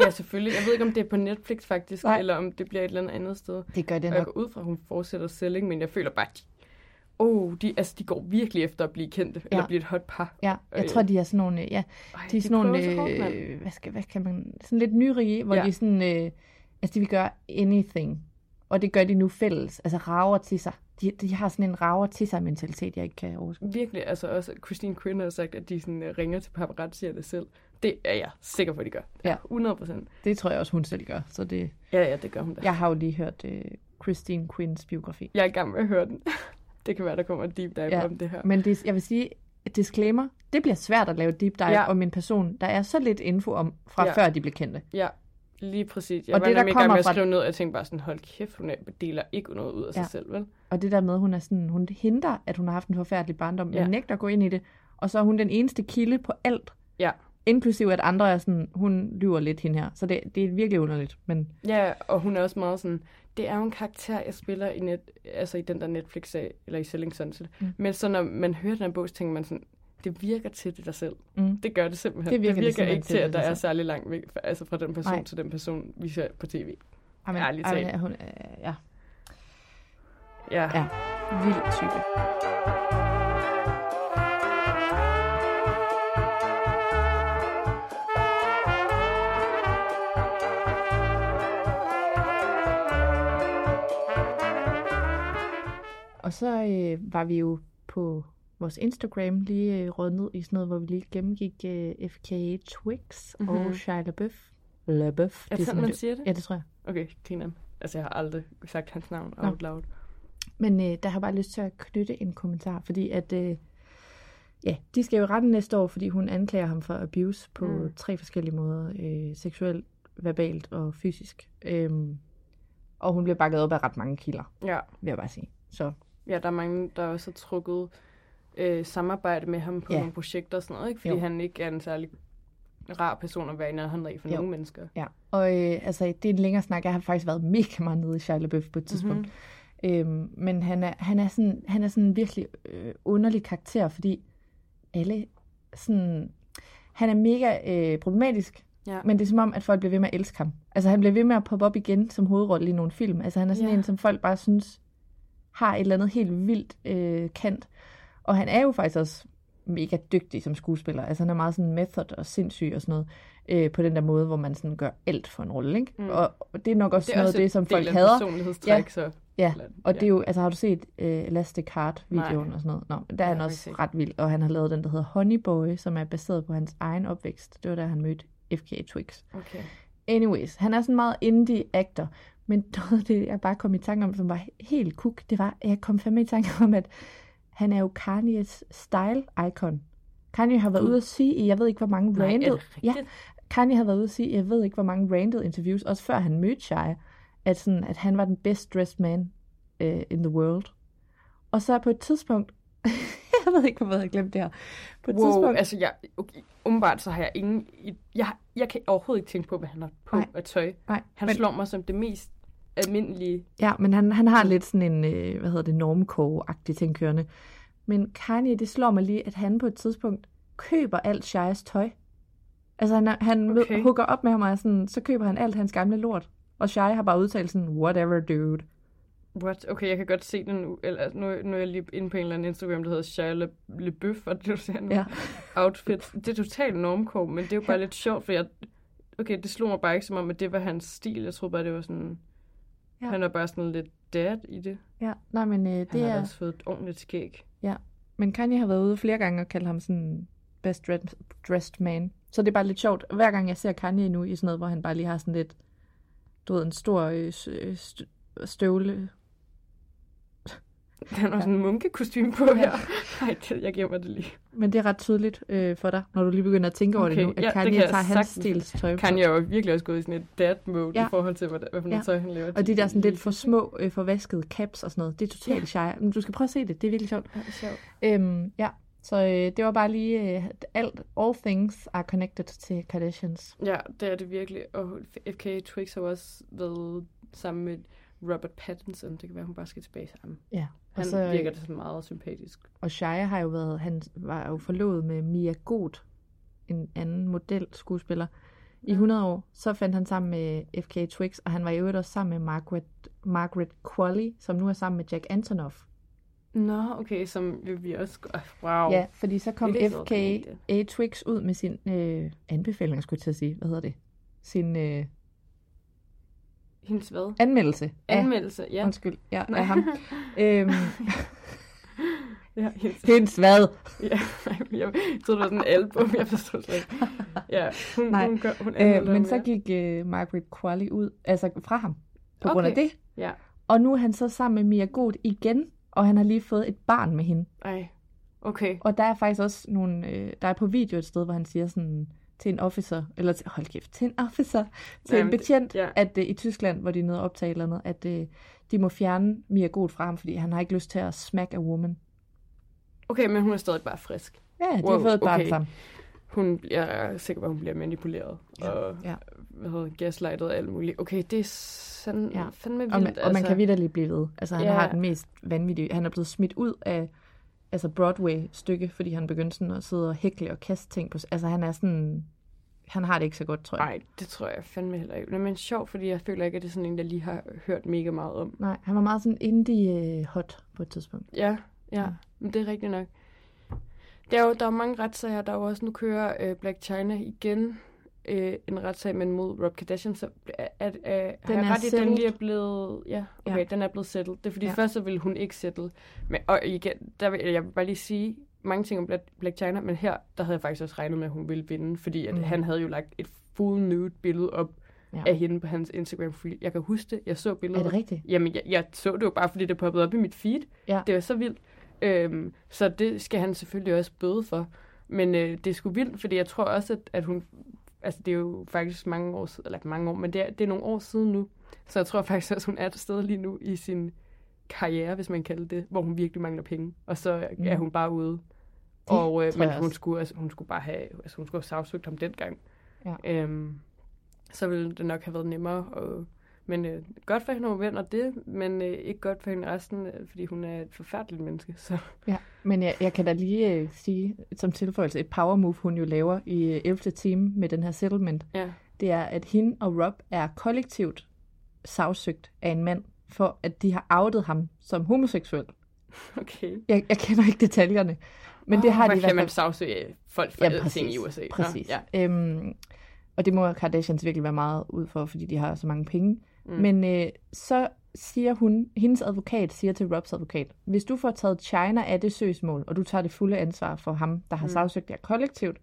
B: Ja, selvfølgelig. Jeg ved ikke, om det er på Netflix faktisk,
A: Nej.
B: eller om det bliver et eller andet andet sted.
A: Det gør det
B: Og jeg går ud fra, at hun fortsætter selling, men jeg føler bare, at de oh, de, altså, de går virkelig efter at blive kendte, ja. eller
A: Ja.
B: blive et hot par.
A: Ja, jeg
B: Øh.
A: tror, de er sådan nogle, øh, ja,
B: Ej,
A: de er sådan nogle,
B: prøver så hårdt, mand.
A: øh, hvad, skal, hvad kan man, sådan lidt nyrige, hvor
B: Ja.
A: ja. de sådan, øh, altså de vil gøre anything, og det gør de nu fælles, altså rager til sig. De, de har sådan en rager til sig mentalitet, jeg ikke kan overskue.
B: Virkelig, altså også Christine Quinn har sagt, at de sådan, øh, ringer til paparazzierne selv. Det er jeg sikker på, at de gør.
A: Ja.
B: 100 procent.
A: Det tror jeg også, hun selv gør, så det,
B: Ja, ja, det gør hun da.
A: jeg har jo lige hørt øh, Christine Quinns biografi.
B: Jeg er i gang med at høre den. det kan være, der kommer en deep dive ja.
A: Ja.
B: om det her.
A: Men det, jeg vil sige, disclaimer, det bliver svært at lave deep dive
B: Ja.
A: ja. om en person, der er så lidt info om, fra
B: Ja.
A: ja. før de blev kendte.
B: Ja, lige præcis. Jeg
A: Og
B: var
A: det, der
B: nemlig i gang med
A: kommer
B: at
A: fra-
B: skrive ned, og jeg tænkte bare sådan, hold kæft, hun er- deler ikke noget ud af sig
A: Ja.
B: selv, vel?
A: Og det der med, hun er sådan, hun henter, at hun har haft en forfærdelig barndom,
B: Ja.
A: men nægter at gå ind i det. Og så er hun den eneste kilde på alt,
B: Ja.
A: inklusiv at andre er sådan, hun lyver lidt hende her. Så det, det er virkelig underligt. Men
B: Ja, og hun er også meget sådan, det er jo en karakter, jeg spiller i, net, altså i den der Netflix-serie, eller i Selling Sunset. Mm. Men så når man hører den her bog, så tænker man sådan, det virker til det der selv.
A: Mm.
B: Det gør det simpelthen.
A: Det virker
B: det
A: det
B: virker
A: simpelthen
B: ikke
A: til
B: til,
A: det
B: at der
A: der
B: er
A: selv.
B: særlig langt væk fra, altså fra den person
A: Nej.
B: til den person, vi ser på tv.
A: amen,
B: Ærligt talt.
A: hun, øh, ja,
B: Ja.
A: ja, vild type. Og så øh, var vi jo på vores Instagram lige øh, røget ned i sådan noget, hvor vi lige gennemgik øh, FKA Twix mm-hmm.
B: Mhm.
A: og Shia LaBeouf. LaBeouf.
B: Er det sådan, man siger det?
A: Ja, det tror jeg.
B: Okay, Tina. Altså, jeg har aldrig sagt hans navn
A: Nå.
B: out loud.
A: Men øh, der har jeg bare lyst til at knytte en kommentar, fordi at, øh, ja, de skal jo i retten næste år, fordi hun anklager ham for abuse på
B: Mm.
A: mm. tre forskellige måder, øh, seksuelt, verbalt og fysisk. Øhm, og hun bliver bakket op af ret mange kilder,
B: Ja.
A: vil jeg bare sige. Så
B: Ja, der er mange, der også har trukket øh, samarbejde med ham på ja.
A: Ja.
B: nogle projekter og sådan noget, ikke? Fordi jo.
A: Jo.
B: han ikke er en særlig rar person at være i nærheden af for jo.
A: Jo.
B: nogle mennesker.
A: Ja, og øh, altså, det er en længere snak. Jeg har faktisk været mega meget nede i Shia LaBeouf på et tidspunkt.
B: Mhm.
A: Mm-hmm. Øhm, men han er, han er sådan, han er sådan en virkelig øh, underlig karakter, fordi alle sådan... Han er mega øh, problematisk,
B: Ja.
A: men det er som om, at folk bliver ved med at elske ham. Altså, han bliver ved med at poppe op igen som hovedrolle i nogle film. Altså, han er sådan
B: Ja.
A: ja. en, som folk bare synes har et eller andet helt vildt øh, kant. Og han er jo faktisk også mega dygtig som skuespiller. Altså han er meget sådan method og sindssyg og sådan noget. Øh, på den der måde, hvor man sådan gør alt for en rolle, ikke?
B: Mm.
A: Mm. Og og det er nok også det er noget af
B: en
A: det, som
B: del
A: folk
B: af
A: hader.
B: personlighedstræk,
A: Ja.
B: så.
A: Ja,
B: Eller-
A: og
B: ja.
A: det er jo, altså har du set øh, Elastic Heart-videoen
B: Nej.
A: og sådan noget? Nå, men der er
B: har
A: han
B: jeg
A: også
B: ikke set.
A: ret vild, og han har lavet den, der hedder Honey Boy, som er baseret på hans egen opvækst. Det var da han mødte FKA Twigs.
B: Okay.
A: Anyways, han er sådan meget indie actor, men noget af det, jeg bare kom i tanke om, som var helt kuk, det var, at jeg kom fandme i tanke om, at han er jo Kanye's style icon. Kanye har været ude at sige i, jeg ved ikke, hvor mange
B: Nej, er det
A: branded... ja,
B: rigtigt?
A: Kanye har været ude at sige, i, jeg ved ikke, hvor mange branded interviews, også før han mødte Shia, at, sådan, at han var den best dressed man uh, in the world. Og så på et tidspunkt, jeg ved ikke, hvorfor jeg har glemt det her, på et
B: Wow,
A: tidspunkt,
B: altså jeg, okay, umiddelbart så har jeg ingen... i- Jeg, jeg kan overhovedet ikke tænke på, hvad han har på
A: Nej.
B: af tøj.
A: nej,
B: Han
A: men-
B: slår mig som det mest almindelige...
A: Ja, men han, han har lidt sådan en, øh, hvad hedder det, normcore-agtig ting kørende. Men Kanye, det slår mig lige, at han på et tidspunkt køber alt Shias tøj. Altså han, er- han
B: Okay.
A: okay. hugger op med ham og er sådan, så køber han alt hans gamle lort. Og Shia har bare udtalt sådan, whatever dude.
B: What? Okay, jeg kan godt se den nu. Eller, nu, nu er jeg lige inde på en eller anden Instagram, der hedder Shia Le, LeBeouf, og det du ser nu.
A: Ja.
B: Outfits. Det er totalt normcore, men det er jo bare lidt sjovt, for jeg... Okay, det slog mig bare ikke som om, at det var hans stil. Jeg troede bare, det var sådan... Ja.
A: Ja.
B: Han er bare sådan lidt dad i det.
A: Ja, nej, men øh,
B: Han
A: det
B: har da
A: er...
B: også fået et ordentligt skæg.
A: Ja. Men Kanye har været ude flere gange og kaldt ham sådan best dressed, dressed man. Så det er bare lidt sjovt. Hver gang jeg ser Kanye nu i sådan noget, hvor han bare lige har sådan lidt, du ved, en stor øh, s- øh, stø- støvle,
B: Han har sådan en munkekostyme på her. Nej, det, jeg gemmer det lige.
A: Men det er ret tydeligt øh, for dig, når du lige begynder at tænke over
B: Okay,
A: det nu, at
B: ja, det
A: Kanye
B: kan jeg
A: tager hans
B: sagtens-
A: stils tøj på.
B: Kanye er jo virkelig også gået i sådan et dad-mode ja.
A: Ja.
B: i forhold til, hvad, hvad for noget
A: Ja.
B: tøj han laver.
A: Og de der sådan lidt for små, øh, forvaskede caps og sådan noget, det er totalt shy. Men du skal prøve at se det, det er virkelig sjovt. Øhm, ja, så øh, det var bare lige, øh, alt, all things are connected til Kardashians.
B: Ja, det er det virkelig. Og FK Twix har jo også været sammen med Robert Pattinson. Det kan være, hun bare skal tilbage til ham.
A: Ja,
B: Han
A: og, så, øh,
B: virker da sådan meget sympatisk.
A: og Shia har jo været, han var jo forlovet med Mia Goth, en anden model skuespiller, i 100 år. Så fandt han sammen med FK Twix, og han var i øvrigt også sammen med Margaret, Margaret Qualley, som nu er sammen med Jack Antonoff.
B: Nå, okay, som vi- vi også... åh, Wow.
A: Ja, fordi så kom
B: Det er lidt
A: FK
B: overraskende.
A: A. Twix ud med sin øh, anbefaling, skulle jeg til at sige. Hvad hedder det? Sin øh,
B: Hendes hvad?
A: anmeldelse. af-
B: Anmeldelse, ja.
A: Undskyld, ja, af ham. Øhm,
B: ja hendes,
A: hendes hvad?
B: ja. Jeg troede, det var sådan en album, jeg forstod slet ikke. Ja, hun,
A: Nej.
B: hun, gør, hun
A: Øh,
B: anmelder
A: men
B: ham,
A: så
B: ja.
A: gik øh, Margaret Qualley ud, altså fra ham, på okay. grund af
B: Okay.
A: det.
B: Ja,
A: Og nu er han så sammen med Mia God igen, og han har lige fået et barn med hende.
B: ej. Okay.
A: Og der er faktisk også nogle, øh, der er på video et sted, hvor han siger sådan til en officer, eller til, hold kæft, til en officer, til
B: Jamen,
A: en
B: det-
A: betjent,
B: ja.
A: ja. at øh, i Tyskland, hvor de er nede og optage et eller andet, at øh, de må fjerne Mia Goth fra ham, fordi han har ikke lyst til at smack a woman.
B: Okay, men hun er stadig bare frisk.
A: Ja, de wow,
B: Wow,
A: har fået et barn
B: okay.
A: okay. sammen.
B: Hun, jeg er sikker på, at hun bliver manipuleret ja. og
A: Ja.
B: hvad hedder, det, gaslightet og alt muligt. Okay, det er sådan, ja.
A: Ja.
B: fandme vildt.
A: Og, man, og man kan vidderligt blive ved. Altså, han
B: Ja.
A: altså- ja. har den mest vanvittige... Han er blevet smidt ud af altså Broadway-stykke, fordi han begyndte sådan at sidde og hækle og kaste ting på... s- Altså, han er sådan... Han har det ikke så godt, tror jeg.
B: Nej, det tror jeg fandme heller ikke. Men, men sjovt, fordi jeg føler ikke, at det er sådan en, jeg lige har hørt mega meget om.
A: Nej, han var meget sådan indie-hot på et tidspunkt.
B: Ja, ja, ja.
A: Ja.
B: men det er rigtigt nok. Der er jo, der er jo mange retssager. Der er jo også, nu kører øh, Black China igen øh, en retssag, men mod Rob Kardashian. Så er, er, er, har jeg
A: er
B: ret i, at den
A: settled.
B: lige er blevet... Ja, okay, ja.
A: Ja.
B: den er blevet settled. Det er fordi, ja.
A: Ja.
B: først så ville hun ikke settle. Men, og igen, der vil, jeg vil bare lige sige mange ting om Black, Black China, men her, der havde jeg faktisk også regnet med, at hun ville vinde, fordi at mm.
A: Mm.
B: han havde jo lagt et full nude billede op ja.
A: Ja.
B: af hende på hans Instagram feed. Jeg kan huske det. Jeg så billedet.
A: Er det rigtigt?
B: Jamen, jeg, jeg så det jo bare, fordi det poppede op i mit feed.
A: Ja.
B: Det var så vildt. Øhm, så det skal han selvfølgelig også bøde for. Men øh, det er sgu vildt, fordi jeg tror også, at, at hun... Altså, det er jo faktisk mange år siden, eller ikke mange år, men det er, det er nogle år siden nu. Så jeg tror faktisk også, hun er et sted lige nu i sin karriere, hvis man kalder det, hvor hun virkelig mangler penge. Og så er
A: Mm.
B: hun bare ude.
A: Det
B: og øh,
A: tror
B: men
A: jeg
B: hun
A: også.
B: skulle, altså, hun skulle bare have, altså, hun skulle have sagsøgt ham dengang.
A: Ja.
B: Øhm, så ville det nok have været nemmere. Og, men øh, godt for hende, hun vinder det, men øh, ikke godt for hende resten, øh, fordi hun er et forfærdeligt menneske. Så.
A: Ja, men jeg, jeg kan da lige øh, sige som tilføjelse, et power move, hun jo laver i øh, 11. time med den her settlement,
B: Ja.
A: det er, at hende og Rob er kollektivt sagsøgt af en mand, for at de har outet ham som homoseksuel.
B: Okay.
A: Jeg, jeg kender ikke detaljerne, men oh, det har de i
B: Hvad
A: hvert
B: kan man
A: fald.
B: sagsøge folk for ja,
A: Ja,
B: ting
A: præcis.
B: i USA? Nå,
A: præcis.
B: ja.
A: ja. øhm, og det må Kardashians virkelig være meget ud for, fordi de har så mange penge. Mm. Men øh, så siger hun, hendes advokat siger til Robs advokat, hvis du får taget China af det søgsmål, og du tager det fulde ansvar for ham, der har mm. sagsøgt jer kollektivt,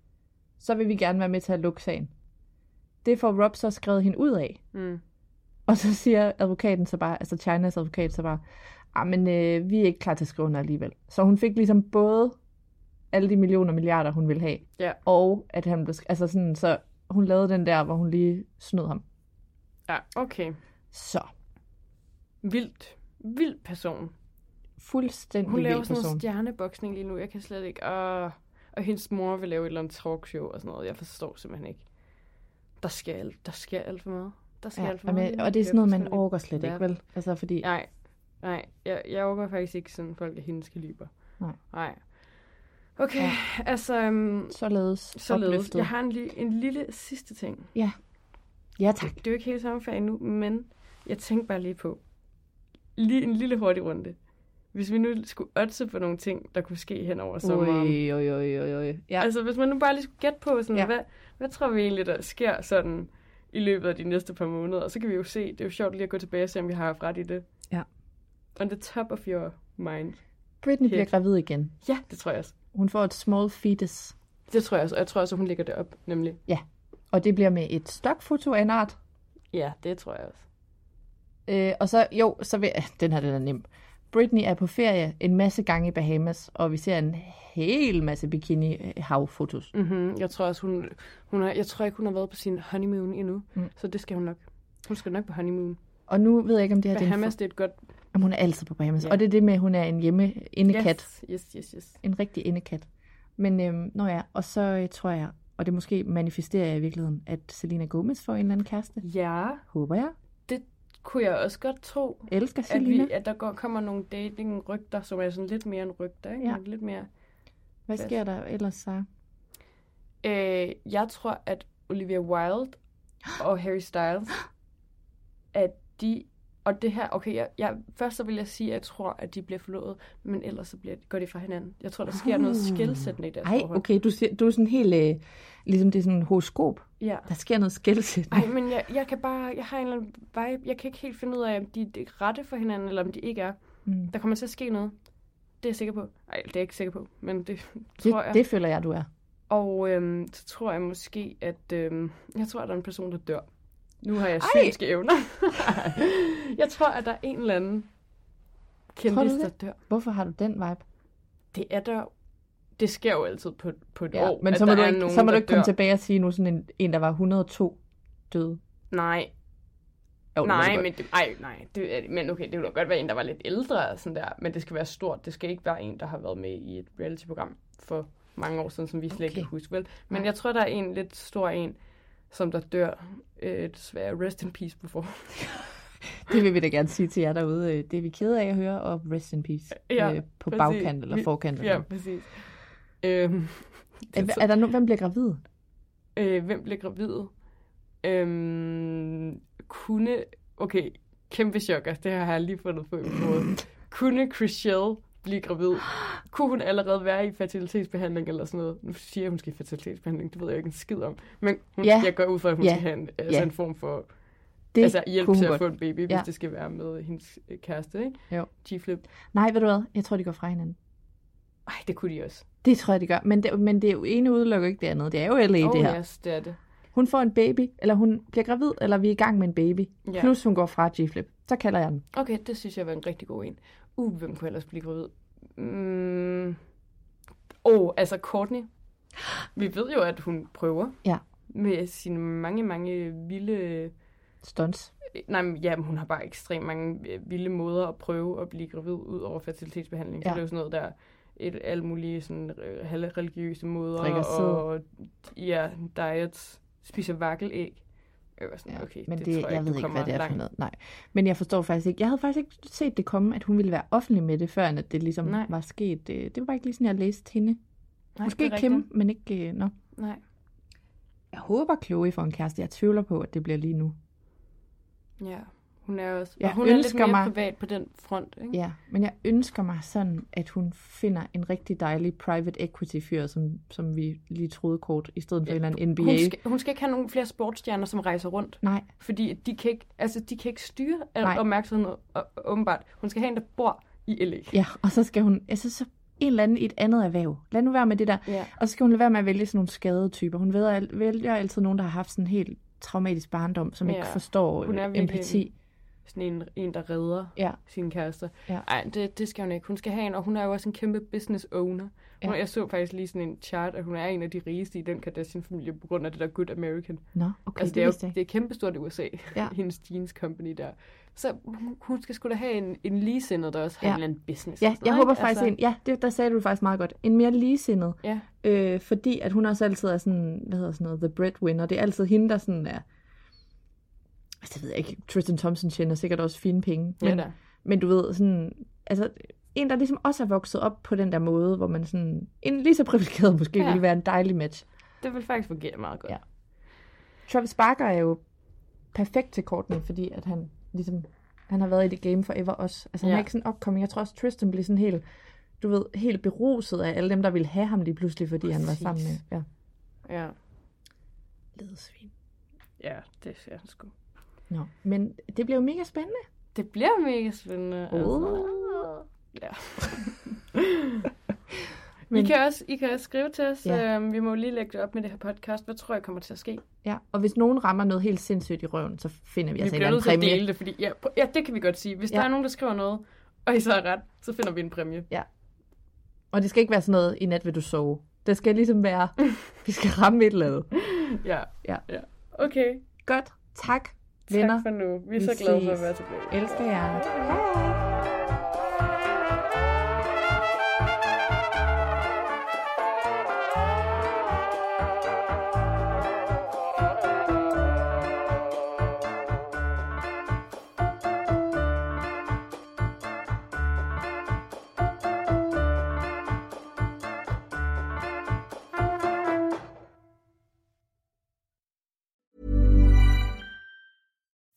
A: så vil vi gerne være med til at lukke sagen. Det får Rob så skrevet hende ud af.
B: Mm.
A: Og så siger advokaten så bare, altså Chinas advokat så bare, ah, men øh, vi er ikke klar til at skrive under alligevel. Så hun fik ligesom både alle de millioner og milliarder, hun ville have,
B: Ja.
A: og at han blev, sk- altså sådan, så hun lavede den der, hvor hun lige snød ham.
B: ja, okay.
A: Så,
B: Vildt. Vild person.
A: fuldstændig
B: Hun laver
A: vild
B: sådan
A: person.
B: noget stjerneboksning lige nu. Jeg kan slet ikke... Og, og hendes mor vil lave et eller andet talkshow og sådan noget. Jeg forstår simpelthen ikke. Der skal alt, der skal alt for meget. Der skal
A: Ja,
B: alt for
A: og,
B: meget. lige
A: med,
B: nu.
A: og det er
B: Jeg
A: sådan noget, man
B: forstår det ikke.
A: overgår slet ikke,
B: Ja.
A: vel? Altså, fordi,
B: Nej, nej. Jeg, jeg overgår faktisk ikke sådan folk af hendes kaliber.
A: Nej.
B: Nej. Okay,
A: Ja.
B: ja. altså... Um,
A: således,
B: således.
A: opløftet.
B: Jeg har en, li- en lille sidste ting.
A: Ja. Ja, tak.
B: Det er jo ikke helt sommerferie nu, men jeg tænkte bare lige på. Lige en lille hurtig runde. Hvis vi nu skulle otte på nogle ting, der kunne ske hen over sommeren.
A: Oj, oj, oj, oj, oj. Ja.
B: Altså, hvis man nu bare lige skulle gætte på, sådan, ja.
A: Ja.
B: hvad, hvad tror vi egentlig, der sker sådan i løbet af de næste par måneder? Og så kan vi jo se, det er jo sjovt lige at gå tilbage og se, om vi har haft ret i det.
A: Ja.
B: On the top of your mind.
A: Britney bliver
B: helt-
A: gravid igen.
B: Ja, det tror jeg også.
A: Hun får et small fetus.
B: Det tror jeg også, og jeg tror også, at hun lægger det op, nemlig.
A: Ja, og det bliver med et stokfoto af en art.
B: Ja, det tror jeg også.
A: Øh, og så, jo, så vil, den her den er nem. Britney er på ferie en masse gange i Bahamas, og vi ser en hel masse øh, bikini-havfotos.
B: Mm-hmm. Jeg tror også, hun, hun har, jeg tror ikke, hun har været på sin honeymoon endnu, mm. så det skal hun nok. Hun skal nok på honeymoon.
A: Og nu ved jeg ikke, om det her det er en...
B: Bahamas, det er et godt...
A: for- Jamen, hun er altid på Bahamas.
B: Ja.
A: Og det er det med, at hun er en hjemme indekat. Yes.
B: Yes, yes, yes, yes.
A: En rigtig indekat. Men øhm, når jeg, og så øh, tror jeg, og det måske manifesterer jeg i virkeligheden, at Selena Gomez får en eller anden kæreste.
B: Ja,
A: Håber jeg.
B: det kunne jeg også godt tro.
A: Elsker
B: at,
A: Selena.
B: vi, at der går, kommer nogle dating-rygter, som er sådan lidt mere en rygter, ikke?
A: Ja.
B: Nogle Lidt mere.
A: Hvad sker der ellers, så?
B: Øh, jeg tror, at Olivia Wilde og Harry Styles, at de Og det her, okay, jeg, jeg, først så vil jeg sige, at jeg tror, at de bliver forlovet, men ellers så bliver, går de fra hinanden. Jeg tror, der sker noget skilsættende i deres
A: Ah. Ej,
B: forhold.
A: okay, du, siger, du er sådan helt, øh, ligesom det er sådan en horoskop.
B: Ja.
A: Der sker noget skældsættende.
B: Ej, men jeg, jeg kan bare, jeg har en eller anden vibe. Jeg kan ikke helt finde ud af, om de er rette for hinanden, eller om de ikke er.
A: Mm.
B: Der kommer til at ske noget. Det er jeg sikker på. Nej, det er jeg ikke sikker på, men det
A: Det,
B: tror jeg.
A: det føler jeg, du er.
B: Og øhm, så tror jeg måske, at øhm, jeg tror, at der er en person, der dør. Nu har jeg synske evner. jeg tror, at der er en eller anden kendis,
A: du
B: der
A: det?
B: dør.
A: Hvorfor har du den vibe?
B: Det er der Det sker jo altid på, på et år,
A: men
B: at
A: så må,
B: der
A: du
B: er
A: ikke,
B: nogen,
A: så må du
B: der
A: ikke komme
B: dør.
A: tilbage og sige nu sådan en, en der var 102 døde.
B: Nej,
A: Jo, det må du
B: nej,
A: godt.
B: men, det, ej, nej det, er det- men okay, det ville da godt være en, der var lidt ældre og sådan der, men det skal være stort. Det skal ikke være en, der har været med i et reality-program for mange år siden, som vi slet ikke
A: Okay.
B: kan huske, vel? Men
A: Nej.
B: jeg tror, der er en lidt stor en, som der dør. Øh, desværre, rest in peace på forhånd.
A: Det vil vi da gerne sige til jer derude. Øh, Det er vi kede af at høre, og rest in peace
B: Ja,
A: øh, på
B: præcis.
A: bagkant eller
B: Vi-
A: forkant.
B: Ja,
A: Ja,
B: præcis. Øhm,
A: er,
B: det er
A: er der nogen, hvem bliver gravid?
B: øh, hvem blev gravid? Øhm, kunne... Okay, kæmpe chokkers, det her har jeg lige fundet på i mit hoved. Kunne Chriselle blive gravid? Kunne hun allerede være i fertilitetsbehandling eller sådan noget? Nu siger jeg, hun skal i fertilitetsbehandling, det ved jeg ikke en skid om. Men hun,
A: Ja.
B: jeg går ud fra, at hun
A: Ja.
B: skal have en, altså
A: Ja.
B: en form for
A: Det
B: altså hjælp
A: kunne
B: til
A: hun
B: at
A: godt.
B: få en baby, hvis
A: Ja.
B: det skal være med hendes øh, kæreste, ikke?
A: Jo.
B: G-flip.
A: Nej, ved du hvad? Jeg tror, de går fra hinanden.
B: Ej, det kunne de også.
A: Det tror jeg, de gør. Men det, men det er jo ene udelukker ikke det andet. Det er jo LA, oh, det her.
B: Oh, yes, det er det.
A: Hun får en baby, eller hun bliver gravid, eller vi er i gang med en baby.
B: Ja.
A: Ja. Plus hun går fra G-Flip. Så kalder jeg den.
B: Okay, det synes jeg var en rigtig god en. Uh, hvem kunne ellers blive gravid? Mm. Oh, altså Courtney. Vi ved jo, at hun prøver
A: Ja.
B: med sine mange, mange vilde...
A: Stunts.
B: Nej, men ja, men hun har bare ekstremt mange øh, vilde måder at prøve at blive gravid ud over fertilitetsbehandling. Ja. Så
A: Ja.
B: det er jo sådan noget, der et, alle mulige sådan, øh, halvreligiøse måder.
A: Drikker
B: og ja, diets, spiser vakkelæg. Jeg var sådan,
A: Ja,
B: okay,
A: men
B: det,
A: det,
B: tror jeg,
A: jeg
B: du
A: ved ikke,
B: kommer
A: hvad det er for
B: langt.
A: noget. Nej. Men jeg forstår faktisk ikke. Jeg havde faktisk ikke set det komme, at hun ville være offentlig med det, før end at det ligesom
B: Nej.
A: Nej. var sket. Øh, Det var bare ikke lige sådan, jeg læste hende. Nej,
B: Nej, det
A: Måske
B: er
A: Kim,
B: rigtigt.
A: men ikke... øh, Nå.
B: Nej,
A: Jeg håber, Chloe får en kæreste. Jeg tvivler på, at det bliver lige nu.
B: Ja, hun er også.
A: Jeg
B: og hun er lidt
A: ønsker
B: mere
A: mig-
B: privat på den front, ikke?
A: Ja, men jeg ønsker mig sådan, at hun finder en rigtig dejlig private equity-fyr, som, som vi lige troede kort, i stedet for en eller anden NBA.
B: Hun skal, hun skal ikke have nogen flere sportsstjerner, som rejser rundt,
A: Nej,
B: fordi de kan ikke, altså, de kan ikke styre Nej.
A: Nej.
B: opmærksomheden og- og- åbenbart. Hun skal have en, der bor i LA.
A: Ja, og så skal hun, altså så en eller anden i et andet erhverv. Lad nu være med det der.
B: Ja.
A: Og så skal hun lade være med at vælge sådan nogle skadede typer. Hun vælger, al- vælger altid nogen, der har haft sådan en helt traumatisk barndom, som
B: Ja.
A: ja. ikke forstår
B: Hun er
A: øh,
B: virkelig
A: empati.
B: Sådan en, en der redder
A: Ja,
B: sine kærester.
A: Ja.
B: Ej, det, det skal hun ikke. Hun skal have en, og hun er jo også en kæmpe business owner. Hun,
A: Ja.
B: Jeg så faktisk lige sådan en chart, at hun er en af de rigeste i den Kardashian-familie på grund af det der Good American.
A: nå, okay,
B: Altså, det, er jo, det er kæmpestort i USA, ja.
A: Ja.
B: hendes jeans company der. Så hun- hun skal sgu da have en, en ligesindet, der også har
A: Ja.
B: en eller anden business.
A: Ja,
B: og sådan
A: jeg
B: noget,
A: håber
B: ikke? Altså,
A: faktisk en, ja, det, der sagde du faktisk meget godt, en mere ligesindet,
B: Ja,
A: øh, fordi at hun også altid er sådan, hvad hedder sådan noget, the breadwinner, det er altid hende, der sådan er, altså det ved jeg ikke, Tristan Thompson tjener sikkert også fine penge,
B: ja
A: men,
B: da.
A: Men du ved, sådan, altså, en, der ligesom også er vokset op på den der måde, hvor man sådan, en lige så privilegeret måske
B: Ja.
A: ja. ville være en dejlig match.
B: Det vil faktisk fungere meget godt.
A: Ja. Travis Barker er jo perfekt til Courtney, fordi at han ligesom, han har været i det game forever også. Altså, han
B: Ja.
A: er ikke sådan opkommet. Jeg tror også, Tristan blev sådan helt, du ved, helt beruset af alle dem, der ville have ham lige pludselig, fordi Præcis. han var
B: Præcis.
A: sammen med. Ja.
B: Ja,
A: Ledesvin.
B: ja det ser jeg sgu.
A: Nå, men det bliver jo mega spændende.
B: Det bliver mega spændende. altså.
A: Åh.
B: Ja. Men...
A: Men-
B: I, kan også, I kan også skrive til os. Ja.
A: Ja.
B: Øhm, vi må jo lige lægge det op med det her podcast. Hvad tror jeg kommer til at ske?
A: Ja, og hvis nogen rammer noget helt sindssygt i røven, så finder vi,
B: Vi
A: altså en
B: bliver
A: eller
B: nødt til
A: anden
B: at
A: præmie.
B: dele det, fordi ja, pr- ja, det kan vi godt sige. Hvis ja.
A: Ja.
B: der er nogen, der skriver noget, og I så er ret, så finder vi en præmie.
A: Og det skal ikke være sådan noget, i nat vil du sove. Det skal ligesom være, vi skal ramme et eller andet.
B: Ja.
A: Ja.
B: ja. Okay.
A: Godt. Tak, venner.
B: Tak for nu. Vi er
A: Vi
B: så glade for at
A: ses.
B: være tilbage.
A: Elsker jer.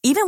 C: Even